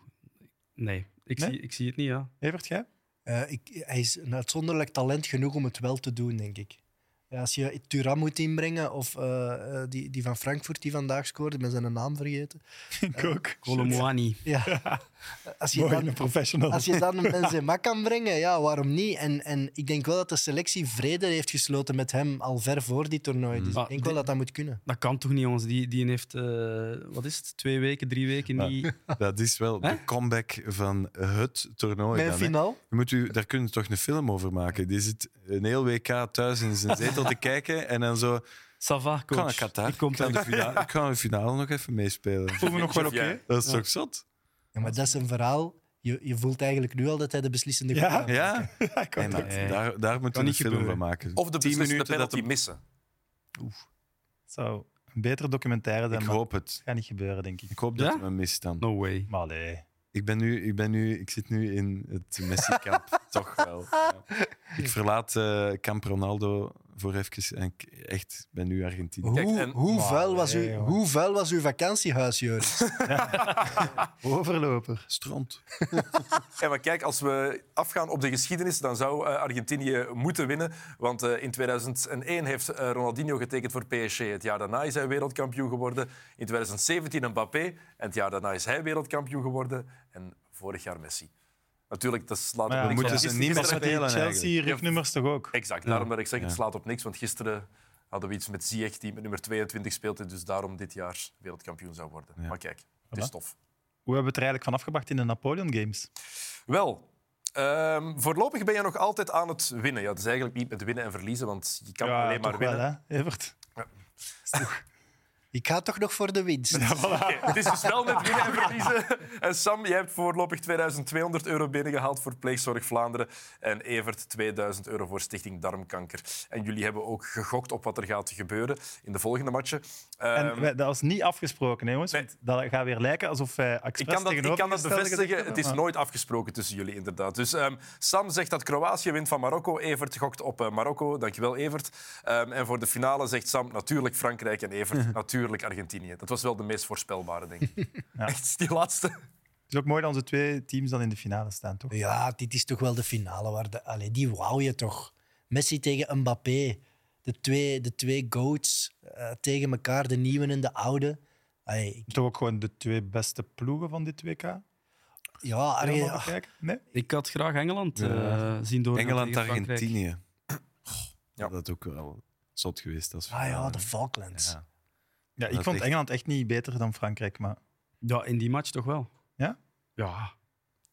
Speaker 6: nee. Ik,
Speaker 8: Nee?
Speaker 6: Zie, ik zie het niet, ja.
Speaker 8: Evert, jij?
Speaker 2: Eh, ik, hij is een uitzonderlijk talent genoeg om het wel te doen, denk ik. Ja, als je Turan moet inbrengen, of eh, eh, die, die van Frankfurt die vandaag scoorde, ik ben zijn naam vergeten.
Speaker 8: Ik ook.
Speaker 6: Colomwani.
Speaker 2: Ja. Als je
Speaker 8: Mooi,
Speaker 2: dan
Speaker 8: een professional.
Speaker 2: Als je dan een Benzema kan brengen, ja, waarom niet? En, en ik denk wel dat de selectie vrede heeft gesloten met hem al ver voor die toernooi. Dus
Speaker 6: Maar
Speaker 2: ik denk
Speaker 6: dit-
Speaker 2: wel dat dat moet kunnen.
Speaker 6: Dat kan toch niet, jongens? Die, die heeft, eh, wat is het, twee weken, drie weken
Speaker 4: Ja.
Speaker 6: niet...
Speaker 4: Dat is wel de comeback van het toernooi.
Speaker 2: Mijn
Speaker 4: dan, hè.
Speaker 2: finaal.
Speaker 4: Je Moet u, daar kunnen we toch een film over maken. Die zit een heel WK thuis in zijn zetel te kijken en dan zo...
Speaker 6: Ça va,
Speaker 4: Kan naar
Speaker 6: coach.
Speaker 4: Qatar.
Speaker 6: Ik kom
Speaker 4: kan de
Speaker 6: terug.
Speaker 4: finale, ik kan de finale nog even meespelen.
Speaker 8: voelen we nog wel oké.
Speaker 5: Ja.
Speaker 4: Dat is toch zot?
Speaker 2: Ja, maar dat is een verhaal. Je, je voelt eigenlijk nu al dat hij de beslissende
Speaker 8: Ja?
Speaker 2: goal heeft.
Speaker 4: Ja?
Speaker 8: Ik
Speaker 4: Nee,
Speaker 8: hoop
Speaker 4: maar
Speaker 8: het.
Speaker 6: Nee.
Speaker 4: Daar,
Speaker 8: Kan
Speaker 4: daar moeten we een
Speaker 8: niet
Speaker 4: film
Speaker 8: gebeuren.
Speaker 4: van maken.
Speaker 5: Of de
Speaker 4: Tien
Speaker 5: beslissende
Speaker 4: minuten dat
Speaker 5: penalty missen?
Speaker 8: Het zou een betere documentaire
Speaker 4: hem-
Speaker 8: zijn,
Speaker 4: Ik
Speaker 8: maar
Speaker 4: hoop het.
Speaker 8: het gaat niet gebeuren, denk ik.
Speaker 4: Ik hoop dat
Speaker 6: Ja?
Speaker 4: hij me mist dan.
Speaker 6: No way.
Speaker 8: Maar allee.
Speaker 4: Ik, ben nu, ik, ben nu, ik zit nu in het Messi-kamp. toch wel. Ja. Ik verlaat eh kamp Ronaldo voor even. En ik echt ben nu Argentinië.
Speaker 2: Hoe,
Speaker 5: Kijk, en-
Speaker 2: hoe,
Speaker 8: Maar
Speaker 2: vuil was
Speaker 8: nee,
Speaker 2: uw,
Speaker 8: jongen.
Speaker 2: hoe vuil was uw vakantiehuis, Joris?
Speaker 8: Overloper.
Speaker 4: Stront.
Speaker 5: Ja, maar kijk, als we afgaan op de geschiedenis, dan zou eh, Argentinië moeten winnen. Want eh, in 2001 heeft eh, Ronaldinho getekend voor PSG. Het jaar daarna is hij wereldkampioen geworden. In 2017 Mbappé. En het jaar daarna is hij wereldkampioen geworden. En vorig jaar Messi. Natuurlijk, dat slaat
Speaker 8: Maar ja,
Speaker 5: op
Speaker 4: We
Speaker 5: niks.
Speaker 4: moeten
Speaker 5: want
Speaker 4: ze
Speaker 5: gisteren-
Speaker 4: niet meer
Speaker 5: gisteren-
Speaker 8: Met die
Speaker 4: spelen eigenlijk.
Speaker 8: Chelsea rugnummers toch ook?
Speaker 5: Exact, daarom dat ik zeg, het
Speaker 4: Ja.
Speaker 5: slaat op niks. Want gisteren hadden we iets met Ziyech, die met nummer 22 speelt. En dus daarom dit jaar wereldkampioen zou worden.
Speaker 4: Ja.
Speaker 5: Maar kijk, het is
Speaker 8: Voilà.
Speaker 5: tof.
Speaker 8: Hoe hebben we het er eigenlijk vanaf gebracht in de Napoleon Games?
Speaker 5: Wel, ehm, voorlopig ben je nog altijd aan het winnen. Ja, het is eigenlijk niet met winnen en verliezen, want je kan alleen maar
Speaker 8: toch
Speaker 5: winnen.
Speaker 8: Wel, hè, Evert?
Speaker 2: Ik ga toch nog voor de winst.
Speaker 5: Oké, het is dus wel met winnen en verliezen. En Sam, jij hebt voorlopig 2200 euro binnengehaald voor Pleegzorg Vlaanderen. En Evert 2000 euro voor Stichting Darmkanker. En jullie hebben ook gegokt op wat er gaat gebeuren in de volgende matchen. Ehm,
Speaker 8: En wij- dat was niet afgesproken, hè, jongens.
Speaker 5: nee.
Speaker 8: want Dat gaat weer lijken alsof wij
Speaker 5: Ik
Speaker 8: expres
Speaker 5: kan dat, ik kan dat
Speaker 8: tegenovergestelde gezegd
Speaker 5: bevestigen.
Speaker 8: hebben,
Speaker 5: Het is
Speaker 8: maar-
Speaker 5: nooit afgesproken tussen jullie, inderdaad. Dus ehm, Sam zegt dat Kroatië wint van Marokko. Evert gokt op eh, Marokko. Dankjewel, Evert. Ehm, en voor de finale zegt Sam natuurlijk Frankrijk en Evert natuurlijk Argentinië. Dat was wel de meest voorspelbare, denk ik. Echt, die laatste.
Speaker 8: Het is ook mooi dat onze twee teams dan in de finale staan, toch?
Speaker 2: Ja, dit is toch wel de finale. Waar de, allee, die wou je toch. Messi tegen Mbappé. De twee, de twee goats eh, tegen elkaar, de nieuwe en de oude. Allee, ik-
Speaker 8: Toch ook gewoon de twee beste ploegen van dit WK?
Speaker 2: ja, allee,
Speaker 8: Helemaal
Speaker 2: ach,
Speaker 8: bekijken? Nee?
Speaker 6: Ik had graag Engeland eh,
Speaker 4: Ja.
Speaker 6: zien doorgaan tegen Frankrijk.
Speaker 4: Engeland-Argentinië.
Speaker 5: Ja.
Speaker 4: Ja. Dat ook wel zot geweest.
Speaker 2: ah
Speaker 4: Als
Speaker 2: ja,
Speaker 4: finale.
Speaker 2: de Falklands.
Speaker 4: Ehm, Ja.
Speaker 8: Ja, ik
Speaker 4: Dat
Speaker 8: vond
Speaker 4: echt-
Speaker 8: Engeland echt niet beter dan Frankrijk, maar
Speaker 6: Ja, in die match toch wel.
Speaker 8: Ja?
Speaker 6: Ja.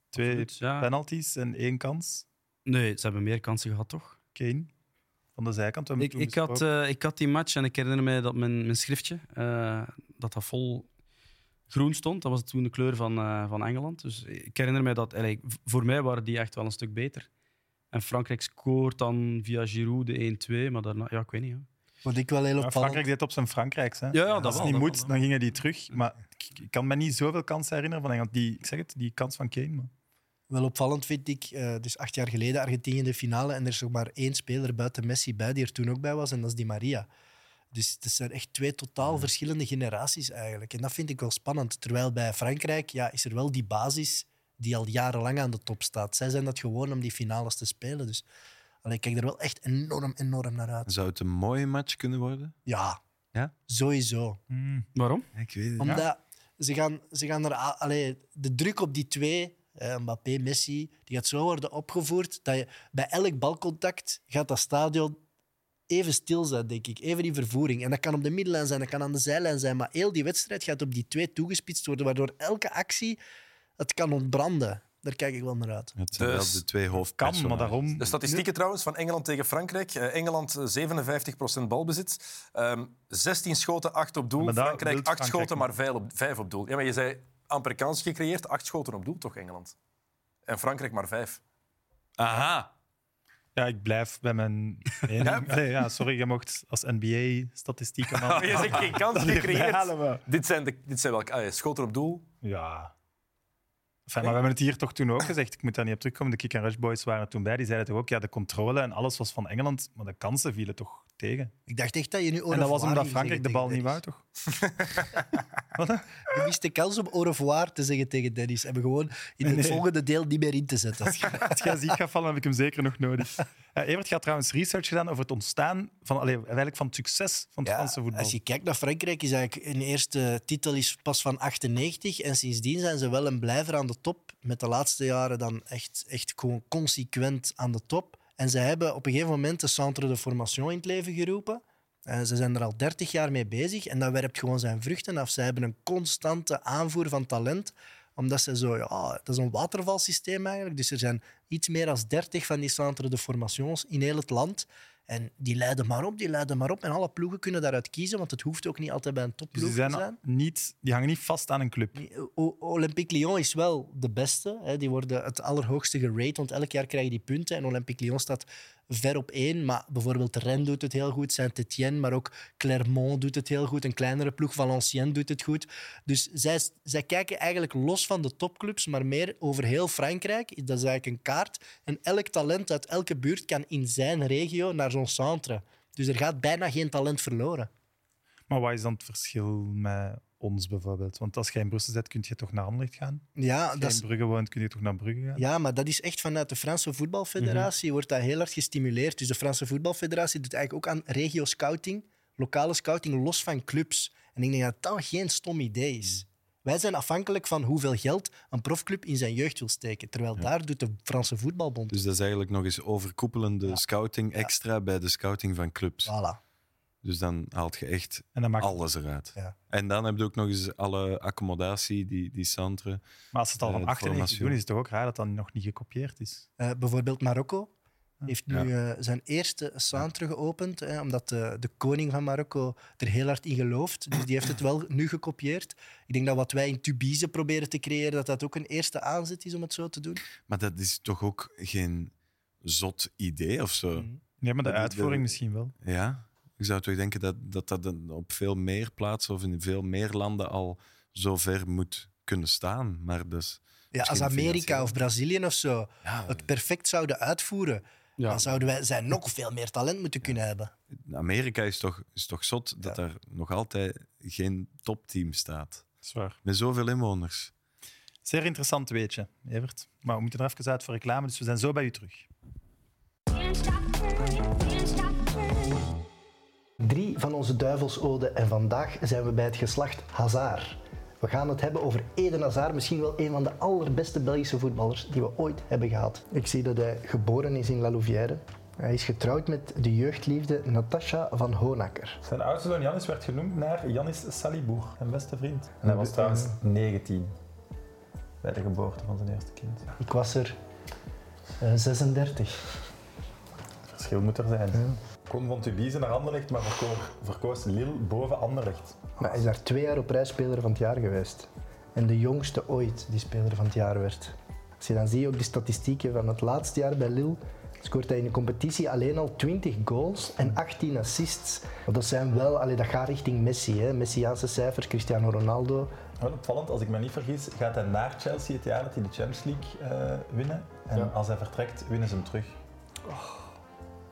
Speaker 8: twee
Speaker 6: Absoluut, ja.
Speaker 8: penalties en één kans.
Speaker 6: Nee, ze hebben meer kansen gehad, toch?
Speaker 8: Kane. van de zijkant. We hebben
Speaker 6: Ik,
Speaker 8: toen
Speaker 6: ik, had,
Speaker 8: besproken.
Speaker 6: eh, ik had die match en ik herinner mij dat mijn, mijn schriftje, eh, dat dat vol groen stond. Dat was toen de kleur van, eh, van Engeland. Dus ik herinner mij dat, eigenlijk, v- voor mij waren die echt wel een stuk beter. En Frankrijk scoort dan via Giroud de 1-2, maar daarna, ja, ik weet niet. Ja,
Speaker 2: Wat ik wel heel
Speaker 8: Ja,
Speaker 2: opvallend...
Speaker 8: Frankrijk deed het op zijn Frankrijks. Hè.
Speaker 6: ja,
Speaker 8: Als het niet moet, dan gingen die terug. Maar ik ik kan me niet zoveel kansen herinneren van Engeland. Die, ik zeg het, die kans van Kane. Maar.
Speaker 2: Wel opvallend vind ik, eh, dus acht jaar geleden Argentinië in de finale en er is nog maar één speler buiten Messi bij die er toen ook bij was en dat is Di Maria. Dus het zijn echt twee totaal verschillende generaties eigenlijk. En dat vind ik wel spannend. Terwijl bij Frankrijk ja, is er wel die basis die al jarenlang aan de top staat. Zij zijn dat gewoon om die finales te spelen. Dus allee, ik kijk er wel echt enorm, enorm naar uit.
Speaker 4: Zou het een mooie match kunnen worden?
Speaker 2: Ja,
Speaker 4: Ja?
Speaker 2: sowieso.
Speaker 8: Hmm.
Speaker 6: Waarom?
Speaker 4: Ik weet het
Speaker 2: Omdat ze, gaan, ze gaan er... a- Allee, de druk op die twee, eh, Mbappé, Messi, die gaat zo worden opgevoerd dat je bij elk balcontact gaat dat stadion even stil zijn, denk ik. Even die vervoering. En dat kan op de middenlijn zijn, dat kan aan de zijlijn zijn. Maar heel die wedstrijd gaat op die twee toegespitst worden, waardoor elke actie het kan ontbranden. Daar kijk ik wel naar uit.
Speaker 4: Het zijn
Speaker 5: Dus-
Speaker 4: wel de twee hoofdpersonen.
Speaker 8: Kan, maar daarom...
Speaker 5: De statistieken trouwens van Engeland tegen Frankrijk. Eh, Engeland eh, 57% balbezit. Ehm 16 schoten, 8 op doel.
Speaker 8: Maar daar
Speaker 5: Frankrijk 8
Speaker 8: wilt Frankrijk
Speaker 5: schoten, maar 5 op, vijf op doel. Ja, maar je zei amper kans gecreëerd, 8 schoten op doel toch, Engeland? En Frankrijk maar 5.
Speaker 4: Aha.
Speaker 8: Ja, ik blijf bij mijn mening.
Speaker 5: Ja.
Speaker 8: Allee, ja, sorry, je mocht als NBA-statistiek...
Speaker 5: Maar Oh, je zegt geen kans gecreëerd.
Speaker 8: we.
Speaker 5: Dit zijn, de, dit zijn wel ah, ja, schoten op doel.
Speaker 8: Ja. Enfin, maar we hebben het hier toch toen ook gezegd. Ik moet daar niet op terugkomen. De Kick and Rush Boys waren er toen bij. Die zeiden toch ook, ja, de controle en alles was van Engeland. Maar de kansen vielen toch tegen.
Speaker 2: Ik dacht echt Oh, dat je nu...
Speaker 8: en dat was omdat
Speaker 2: omdat
Speaker 8: Frankrijk de bal niet wou, toch?
Speaker 2: Je mist de kans om au revoir te zeggen tegen Dennis. En we gewoon in het
Speaker 8: Nee.
Speaker 2: volgende deel niet meer in te zetten.
Speaker 8: Als jij ziek gaat vallen, heb ik hem zeker nog nodig. Eh Evert gaat trouwens research gedaan over het ontstaan van, allee, eigenlijk van het succes van het
Speaker 2: Ja,
Speaker 8: Franse voetbal. Dus
Speaker 2: Als je kijkt naar Frankrijk, is eigenlijk hun eerste titel is pas van 98. En sindsdien zijn ze wel een blijver aan de top. Met de laatste jaren dan echt, echt gewoon consequent aan de top. En ze hebben op een gegeven moment de Centre de Formation in het leven geroepen. En ze zijn er al 30 jaar mee bezig. En dat werpt gewoon zijn vruchten af. Ze hebben een constante aanvoer van talent omdat ze zo, ja, dat is een watervalsysteem eigenlijk. Dus er zijn iets meer dan 30 van die centre de formations in heel het land. En die leiden maar op, die leiden maar op. En alle ploegen kunnen daaruit kiezen, want het hoeft ook niet altijd bij een
Speaker 8: dus
Speaker 2: topploeg
Speaker 8: die, zijn
Speaker 2: te zijn.
Speaker 8: Niet, die hangen niet vast aan een club.
Speaker 2: O- Olympique Lyon is wel de beste. Hè. Die worden het allerhoogste gerate, want elk jaar krijgen die punten. En Olympique Lyon staat ver op één. Maar bijvoorbeeld Rennes doet het heel goed, Saint-Etienne, maar ook Clermont doet het heel goed. Een kleinere ploeg, Valenciennes, doet het goed. Dus zij, zij kijken eigenlijk los van de topclubs, maar meer over heel Frankrijk. Dat is eigenlijk een kaart. En elk talent uit elke buurt kan in zijn regio naar zo'n centre. Dus er gaat bijna geen talent verloren.
Speaker 8: Maar wat is dan het verschil met ons bijvoorbeeld? Want als jij in Brussel zit, kun je toch naar Anderlecht gaan?
Speaker 2: Ja,
Speaker 8: Als
Speaker 2: dat
Speaker 8: jij
Speaker 2: is
Speaker 8: in Brugge woont, kun je toch naar Brugge gaan?
Speaker 2: Ja, maar dat is echt vanuit de Franse Voetbalfederatie wordt dat heel hard gestimuleerd. Dus de Franse Voetbalfederatie doet eigenlijk ook aan regio-scouting, lokale scouting, los van clubs. En ik denk dat dat geen stom idee is. Wij zijn afhankelijk van hoeveel geld een profclub in zijn jeugd wil steken. Terwijl daar doet de Franse Voetbalbond.
Speaker 4: Dus dat is eigenlijk nog eens overkoepelende scouting extra bij de scouting van clubs.
Speaker 2: Voilà.
Speaker 4: Dus dan haalt je echt
Speaker 8: En dat maakt
Speaker 4: alles eruit.
Speaker 2: Ja.
Speaker 4: En dan heb je ook nog eens alle accommodatie, die, die centre.
Speaker 8: Maar als ze het al
Speaker 4: Eh,
Speaker 8: van
Speaker 4: de
Speaker 8: 98
Speaker 4: formatie.
Speaker 8: doen, is het toch ook raar dat dat nog niet gekopieerd is?
Speaker 2: Eh, bijvoorbeeld Marokko heeft nu
Speaker 4: Ja.
Speaker 2: eh, zijn eerste centre geopend, hè, omdat eh, de, de koning van Marokko er heel hard in gelooft. Dus die heeft het wel nu gekopieerd. Ik denk dat wat wij in Tubize proberen te creëren, dat dat ook een eerste aanzet is om het zo te doen.
Speaker 4: Maar dat is toch ook geen zot idee of zo?
Speaker 2: Mm.
Speaker 8: Nee, maar de
Speaker 4: Dat- dat-
Speaker 8: uitvoering
Speaker 4: dat-
Speaker 8: misschien wel.
Speaker 4: Ja? Ik zou toch denken dat dat, dat dan op veel meer plaatsen of in veel meer landen al zo ver moet kunnen staan. Maar dus...
Speaker 2: Ja, als
Speaker 4: Misschien
Speaker 2: Amerika
Speaker 4: financieel.
Speaker 2: of Brazilië of zo
Speaker 4: Ja,
Speaker 2: het perfect zouden uitvoeren,
Speaker 6: Ja.
Speaker 2: dan zouden wij, zij nog veel meer talent moeten kunnen hebben.
Speaker 4: Amerika is toch, is toch zot dat daar nog altijd geen topteam staat.
Speaker 8: Zwaar.
Speaker 4: Met zoveel inwoners.
Speaker 8: Zeer interessant weetje, Evert. Maar we moeten er even uit voor reclame, dus we zijn zo bij u terug.
Speaker 2: Drie van onze duivelsoden en vandaag zijn we bij het geslacht Hazard. We gaan het hebben over Eden Hazard, misschien wel een van de allerbeste Belgische voetballers die we ooit hebben gehad. Ik zie dat hij geboren is in La Louvière. Hij is getrouwd met de jeugdliefde Natasha van Honacker.
Speaker 9: Zijn oudste zoon Janis werd genoemd naar Janis Saliboer, zijn beste vriend. En hij was trouwens 19 bij de geboorte van zijn eerste kind. Het
Speaker 2: Ik was er eh, 36.
Speaker 9: verschil moet er zijn. kon van Tubize naar Anderlecht, maar verkoos, verkoos Lille boven Anderlecht.
Speaker 2: Maar hij is daar twee jaar op rij speler van het jaar geweest. En de jongste ooit die speler van het jaar werd. Als je dan ziet ook de statistieken van het laatste jaar bij Lille, scoort hij in de competitie alleen al 20 goals en 18 assists. Want Dat zijn wel, allee, dat gaat richting Messi, hè. Messiaanse cijfers, Cristiano Ronaldo.
Speaker 9: Wel opvallend, als ik me niet vergis, gaat hij naar Chelsea het jaar dat hij de Champions League eh, winnen. En
Speaker 2: Ja.
Speaker 9: als hij vertrekt, winnen ze hem terug. Oh. Hij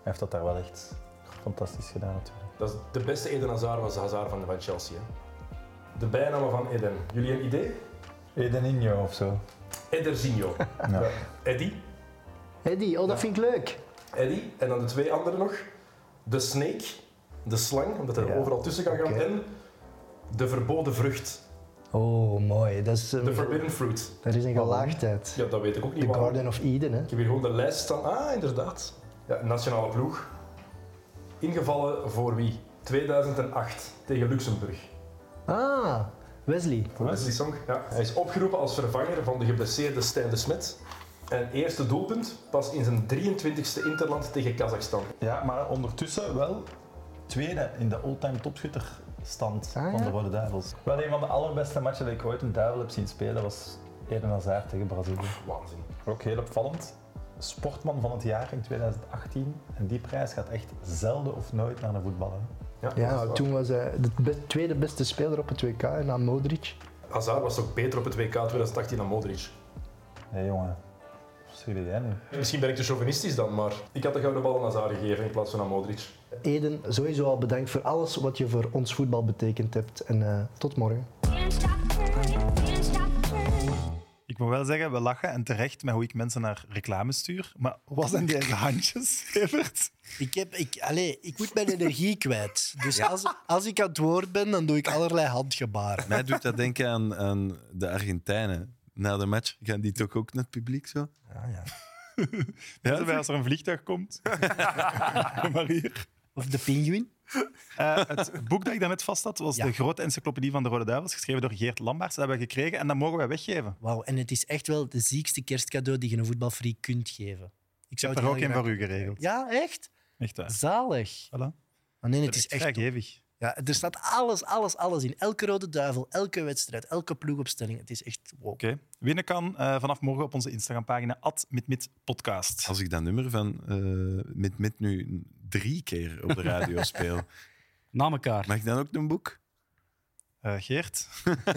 Speaker 9: heeft dat daar wel echt fantastisch gedaan natuurlijk.
Speaker 10: Dat is de beste Eden Hazard was de Hazard van, van Chelsea. Hè. De bijnaam van Eden. Jullie een idee?
Speaker 9: Edeninho of zo.
Speaker 10: Ederzinho.
Speaker 9: Ja.
Speaker 10: Eddy.
Speaker 2: Eddie, oh, dat vind ik leuk.
Speaker 10: Eddy. En dan de twee anderen nog. De snake. De slang, omdat hij er
Speaker 2: Ja.
Speaker 10: overal tussen kan gaan.
Speaker 2: Oké.
Speaker 10: En de verboden vrucht.
Speaker 2: Oh, mooi. Dat is, een-
Speaker 10: De forbidden fruit.
Speaker 2: dat is een gelaagdheid.
Speaker 10: Ja, dat weet ik ook niet
Speaker 2: The
Speaker 10: waarom.
Speaker 2: Garden of Eden, hè.
Speaker 10: Ik heb hier gewoon de lijst staan. Ah, inderdaad. Ja, nationale ploeg. Ingevallen voor wie? 2008 tegen Luxemburg.
Speaker 2: Ah, Wesley.
Speaker 10: Voor Wesley Song. Ja. Hij is opgeroepen als vervanger van de geblesseerde Stijn de Smet. En eerste doelpunt pas in zijn 23e interland tegen Kazachstan.
Speaker 9: Ja, maar ondertussen wel tweede in de all-time topschutterstand
Speaker 2: Ah,
Speaker 9: van
Speaker 2: ja?
Speaker 9: de Rode Duivels. Wel een van de allerbeste matchen dat ik ooit een duivel heb zien spelen was Eden Hazard tegen Brazilië.
Speaker 10: Waanzin.
Speaker 9: Ook heel opvallend. Sportman van het jaar in 2018. En die prijs gaat echt zelden of nooit naar de voetballer.
Speaker 10: dat is
Speaker 2: Ja,
Speaker 10: waar.
Speaker 2: toen was hij de be- tweede beste speler op het WK na Modric.
Speaker 10: Hazard was toch beter op het WK 2018 dan Modric.
Speaker 9: Hé jongen, wat schreeuw jij nu?
Speaker 10: Misschien ben ik te chauvinistisch dan, maar ik had de gouden bal aan Hazard gegeven in plaats van aan Modric.
Speaker 2: Eden, sowieso al bedankt voor alles wat je voor ons voetbal betekend hebt. En eh, tot morgen.
Speaker 8: Ik moet wel zeggen, we lachen en terecht met hoe ik mensen naar reclame stuur. Maar wat zijn die handjes, Evert?
Speaker 2: Ik, heb, ik, allee, ik moet mijn energie kwijt. Dus als, als ik aan het woord ben, dan doe ik allerlei handgebaren.
Speaker 4: Mij doet dat denken aan, aan de Argentijnen. Na de match gaan die toch ook naar het publiek zo?
Speaker 8: Ja, als er een vliegtuig komt. Kom maar hier.
Speaker 2: Of de pinguïn.
Speaker 8: Eh, het boek dat ik daarnet vast had, was
Speaker 2: Ja.
Speaker 8: de grote encyclopedie van de Rode Duivels, geschreven door Geert Lambaars. Dat hebben we gekregen en dat mogen wij weggeven.
Speaker 2: Wauw, en het is echt wel de ziekste kerstcadeau die je een voetbalfree kunt geven. Ik
Speaker 8: Ik heb
Speaker 2: het
Speaker 8: er
Speaker 2: heel
Speaker 8: ook een
Speaker 2: graag-
Speaker 8: voor u geregeld.
Speaker 2: Ja, echt?
Speaker 8: Echt waar.
Speaker 2: Zalig.
Speaker 8: Voilà.
Speaker 2: Maar nee, het is echt...
Speaker 8: vrijgevig.
Speaker 2: Ja, er staat alles, alles, alles in. Elke rode duivel, elke wedstrijd, elke ploegopstelling. Het is echt wow.
Speaker 8: Oké. Winnen kan eh, vanaf morgen op onze Instagram-pagina, @mitmitpodcast.
Speaker 4: Als ik dat nummer van eh Mit Mit nu drie keer op de radio speel,
Speaker 6: Na elkaar.
Speaker 4: mag ik dan ook een boek?
Speaker 8: Eh, Geert. we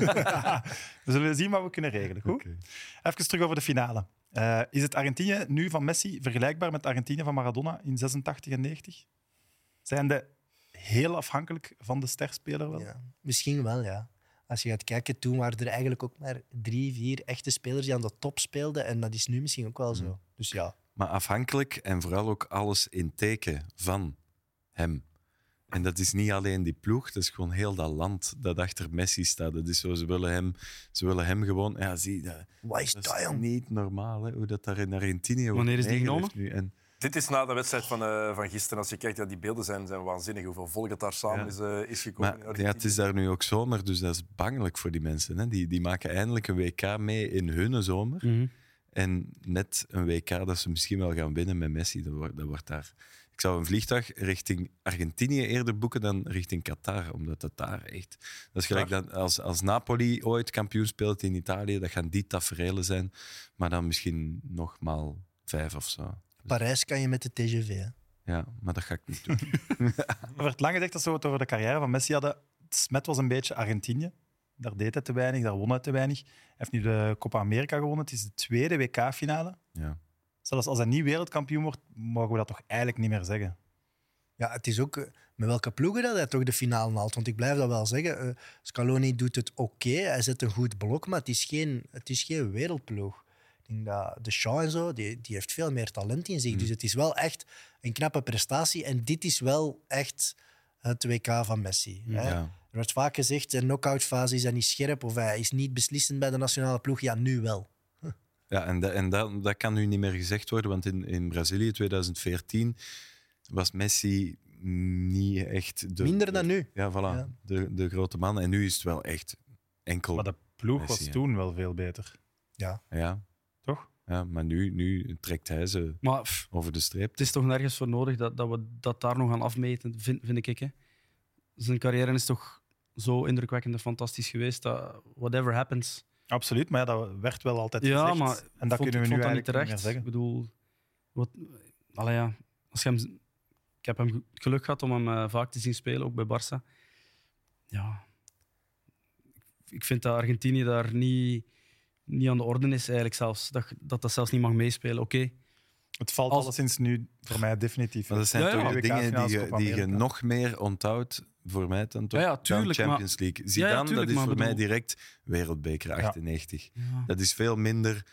Speaker 8: zullen zien wat we kunnen regelen. Goed?
Speaker 4: Oké.
Speaker 8: Even terug over de finale. Eh, is het Argentinië nu van Messi vergelijkbaar met Argentinië van Maradona in 86 en 90? Zijn de heel afhankelijk van de sterspeler wel?
Speaker 2: Ja, misschien wel, ja. Als je gaat kijken, toen waren er eigenlijk ook maar drie, vier echte spelers die aan de top speelden. En dat is nu misschien ook wel zo. Dus ja.
Speaker 4: maar afhankelijk en vooral ook alles in teken van hem. En dat is niet alleen die ploeg, dat is gewoon heel dat land dat achter Messi staat. Dat is zo, ze willen hem, ze willen hem gewoon... Ja, zie, dat,
Speaker 2: Wat is
Speaker 4: dat
Speaker 2: dat,
Speaker 4: is
Speaker 2: jong?
Speaker 4: niet normaal, hè, hoe dat daar in Argentinië wordt
Speaker 6: Wanneer is die
Speaker 4: meegeleefd Nu. En
Speaker 5: Dit is na de wedstrijd van, eh, van gisteren. Als je kijkt, ja, die beelden zijn, zijn waanzinnig. Hoeveel volk dat daar samen
Speaker 4: Ja.
Speaker 5: is, eh, is gekomen. in
Speaker 4: Maar ja,
Speaker 5: Argentinië.
Speaker 4: het is daar nu ook zomer, dus dat is bangelijk voor die mensen. Hè? Die, die maken eindelijk een WK mee in hun zomer.
Speaker 6: Mhm.
Speaker 4: En net een WK dat ze misschien wel gaan winnen met Messi, dat wordt, dat wordt daar. Ik zou een vliegtuig richting Argentinië eerder boeken dan richting Qatar, omdat dat daar echt. Dat is gelijk dat als, als Napoli ooit kampioen speelt in Italië, dat gaan die tafereelen zijn, maar dan misschien nogmaal vijf of zo.
Speaker 2: Parijs kan je met de TGV. Hè?
Speaker 4: Ja, maar dat ga ik niet doen.
Speaker 8: Er werd lang gezegd dat ze het over de carrière van Messi hadden. Smet was een beetje Argentinië. Daar deed hij te weinig, daar won hij te weinig. Hij heeft nu de Copa America gewonnen. Het is de tweede WK-finale.
Speaker 4: Ja.
Speaker 8: Zelfs als hij niet wereldkampioen wordt, mogen we dat toch eigenlijk niet meer zeggen.
Speaker 2: Ja, het is ook eh, met welke ploegen dat hij toch de finale haalt. Want ik blijf dat wel zeggen. eh, Scaloni doet het oké, hij zet een goed blok, maar het is geen, het is geen wereldploeg. Ik denk dat de Shaw en zo, die, die heeft veel meer talent in zich. Dus het is wel echt een knappe prestatie. En dit is wel echt het WK van Messi. Hè?
Speaker 4: Ja.
Speaker 2: Er wordt vaak gezegd, de knock-out fase is hij niet scherp of hij is niet beslissend bij de nationale ploeg. Ja, nu wel.
Speaker 4: Ja, en, dat, en dat, dat kan nu niet meer gezegd worden, want in, in Brazilië 2014 was Messi niet echt... De,
Speaker 2: Minder dan nu.
Speaker 4: Ja, voilà.
Speaker 2: Ja.
Speaker 4: De, de grote man. En nu is het wel echt enkel...
Speaker 8: Maar de ploeg
Speaker 4: Messi,
Speaker 8: was
Speaker 4: ja.
Speaker 8: toen wel veel beter.
Speaker 4: Ja.
Speaker 8: Toch?
Speaker 4: Ja, maar nu, nu trekt hij ze
Speaker 6: Maar pff,
Speaker 4: over de streep.
Speaker 6: het is toch nergens voor nodig dat, dat we dat daar nog aan afmeten, vind, vind ik. Hè. Zijn carrière is toch zo indrukwekkend en fantastisch geweest dat whatever happens.
Speaker 8: Absoluut, maar ja, dat werd wel altijd
Speaker 6: Ja,
Speaker 8: gezegd.
Speaker 6: maar
Speaker 8: en dat
Speaker 6: vond-
Speaker 8: kunnen we
Speaker 6: vond
Speaker 8: nu
Speaker 6: dat
Speaker 8: eigenlijk niet
Speaker 6: niet terecht.
Speaker 8: meer zeggen.
Speaker 6: Ik bedoel, wat, allee ja, als je hem, ik heb hem ge- het geluk gehad om hem eh, vaak te zien spelen, ook bij Barça. Ja, ik vind dat Argentinië daar niet, niet aan de orde is eigenlijk zelfs. Dat je- dat, dat zelfs niet mag meespelen. Oké,
Speaker 8: Het valt
Speaker 6: Als-
Speaker 8: alleszins nu voor mij definitief.
Speaker 4: Maar dat zijn
Speaker 6: Ja, ja.
Speaker 4: toch de
Speaker 8: WK-finales
Speaker 4: dingen die je,
Speaker 8: Copa
Speaker 4: die je
Speaker 8: Amerika.
Speaker 4: nog meer onthoudt voor mij dan toch
Speaker 6: Ja, ja,
Speaker 4: dan
Speaker 6: tuurlijk,
Speaker 4: Champions League. Zidane,
Speaker 6: tuurlijk,
Speaker 4: dat is
Speaker 6: maar
Speaker 4: voor mij
Speaker 6: bedoel-
Speaker 4: direct wereldbeker 98.
Speaker 6: Ja.
Speaker 4: Dat is veel minder...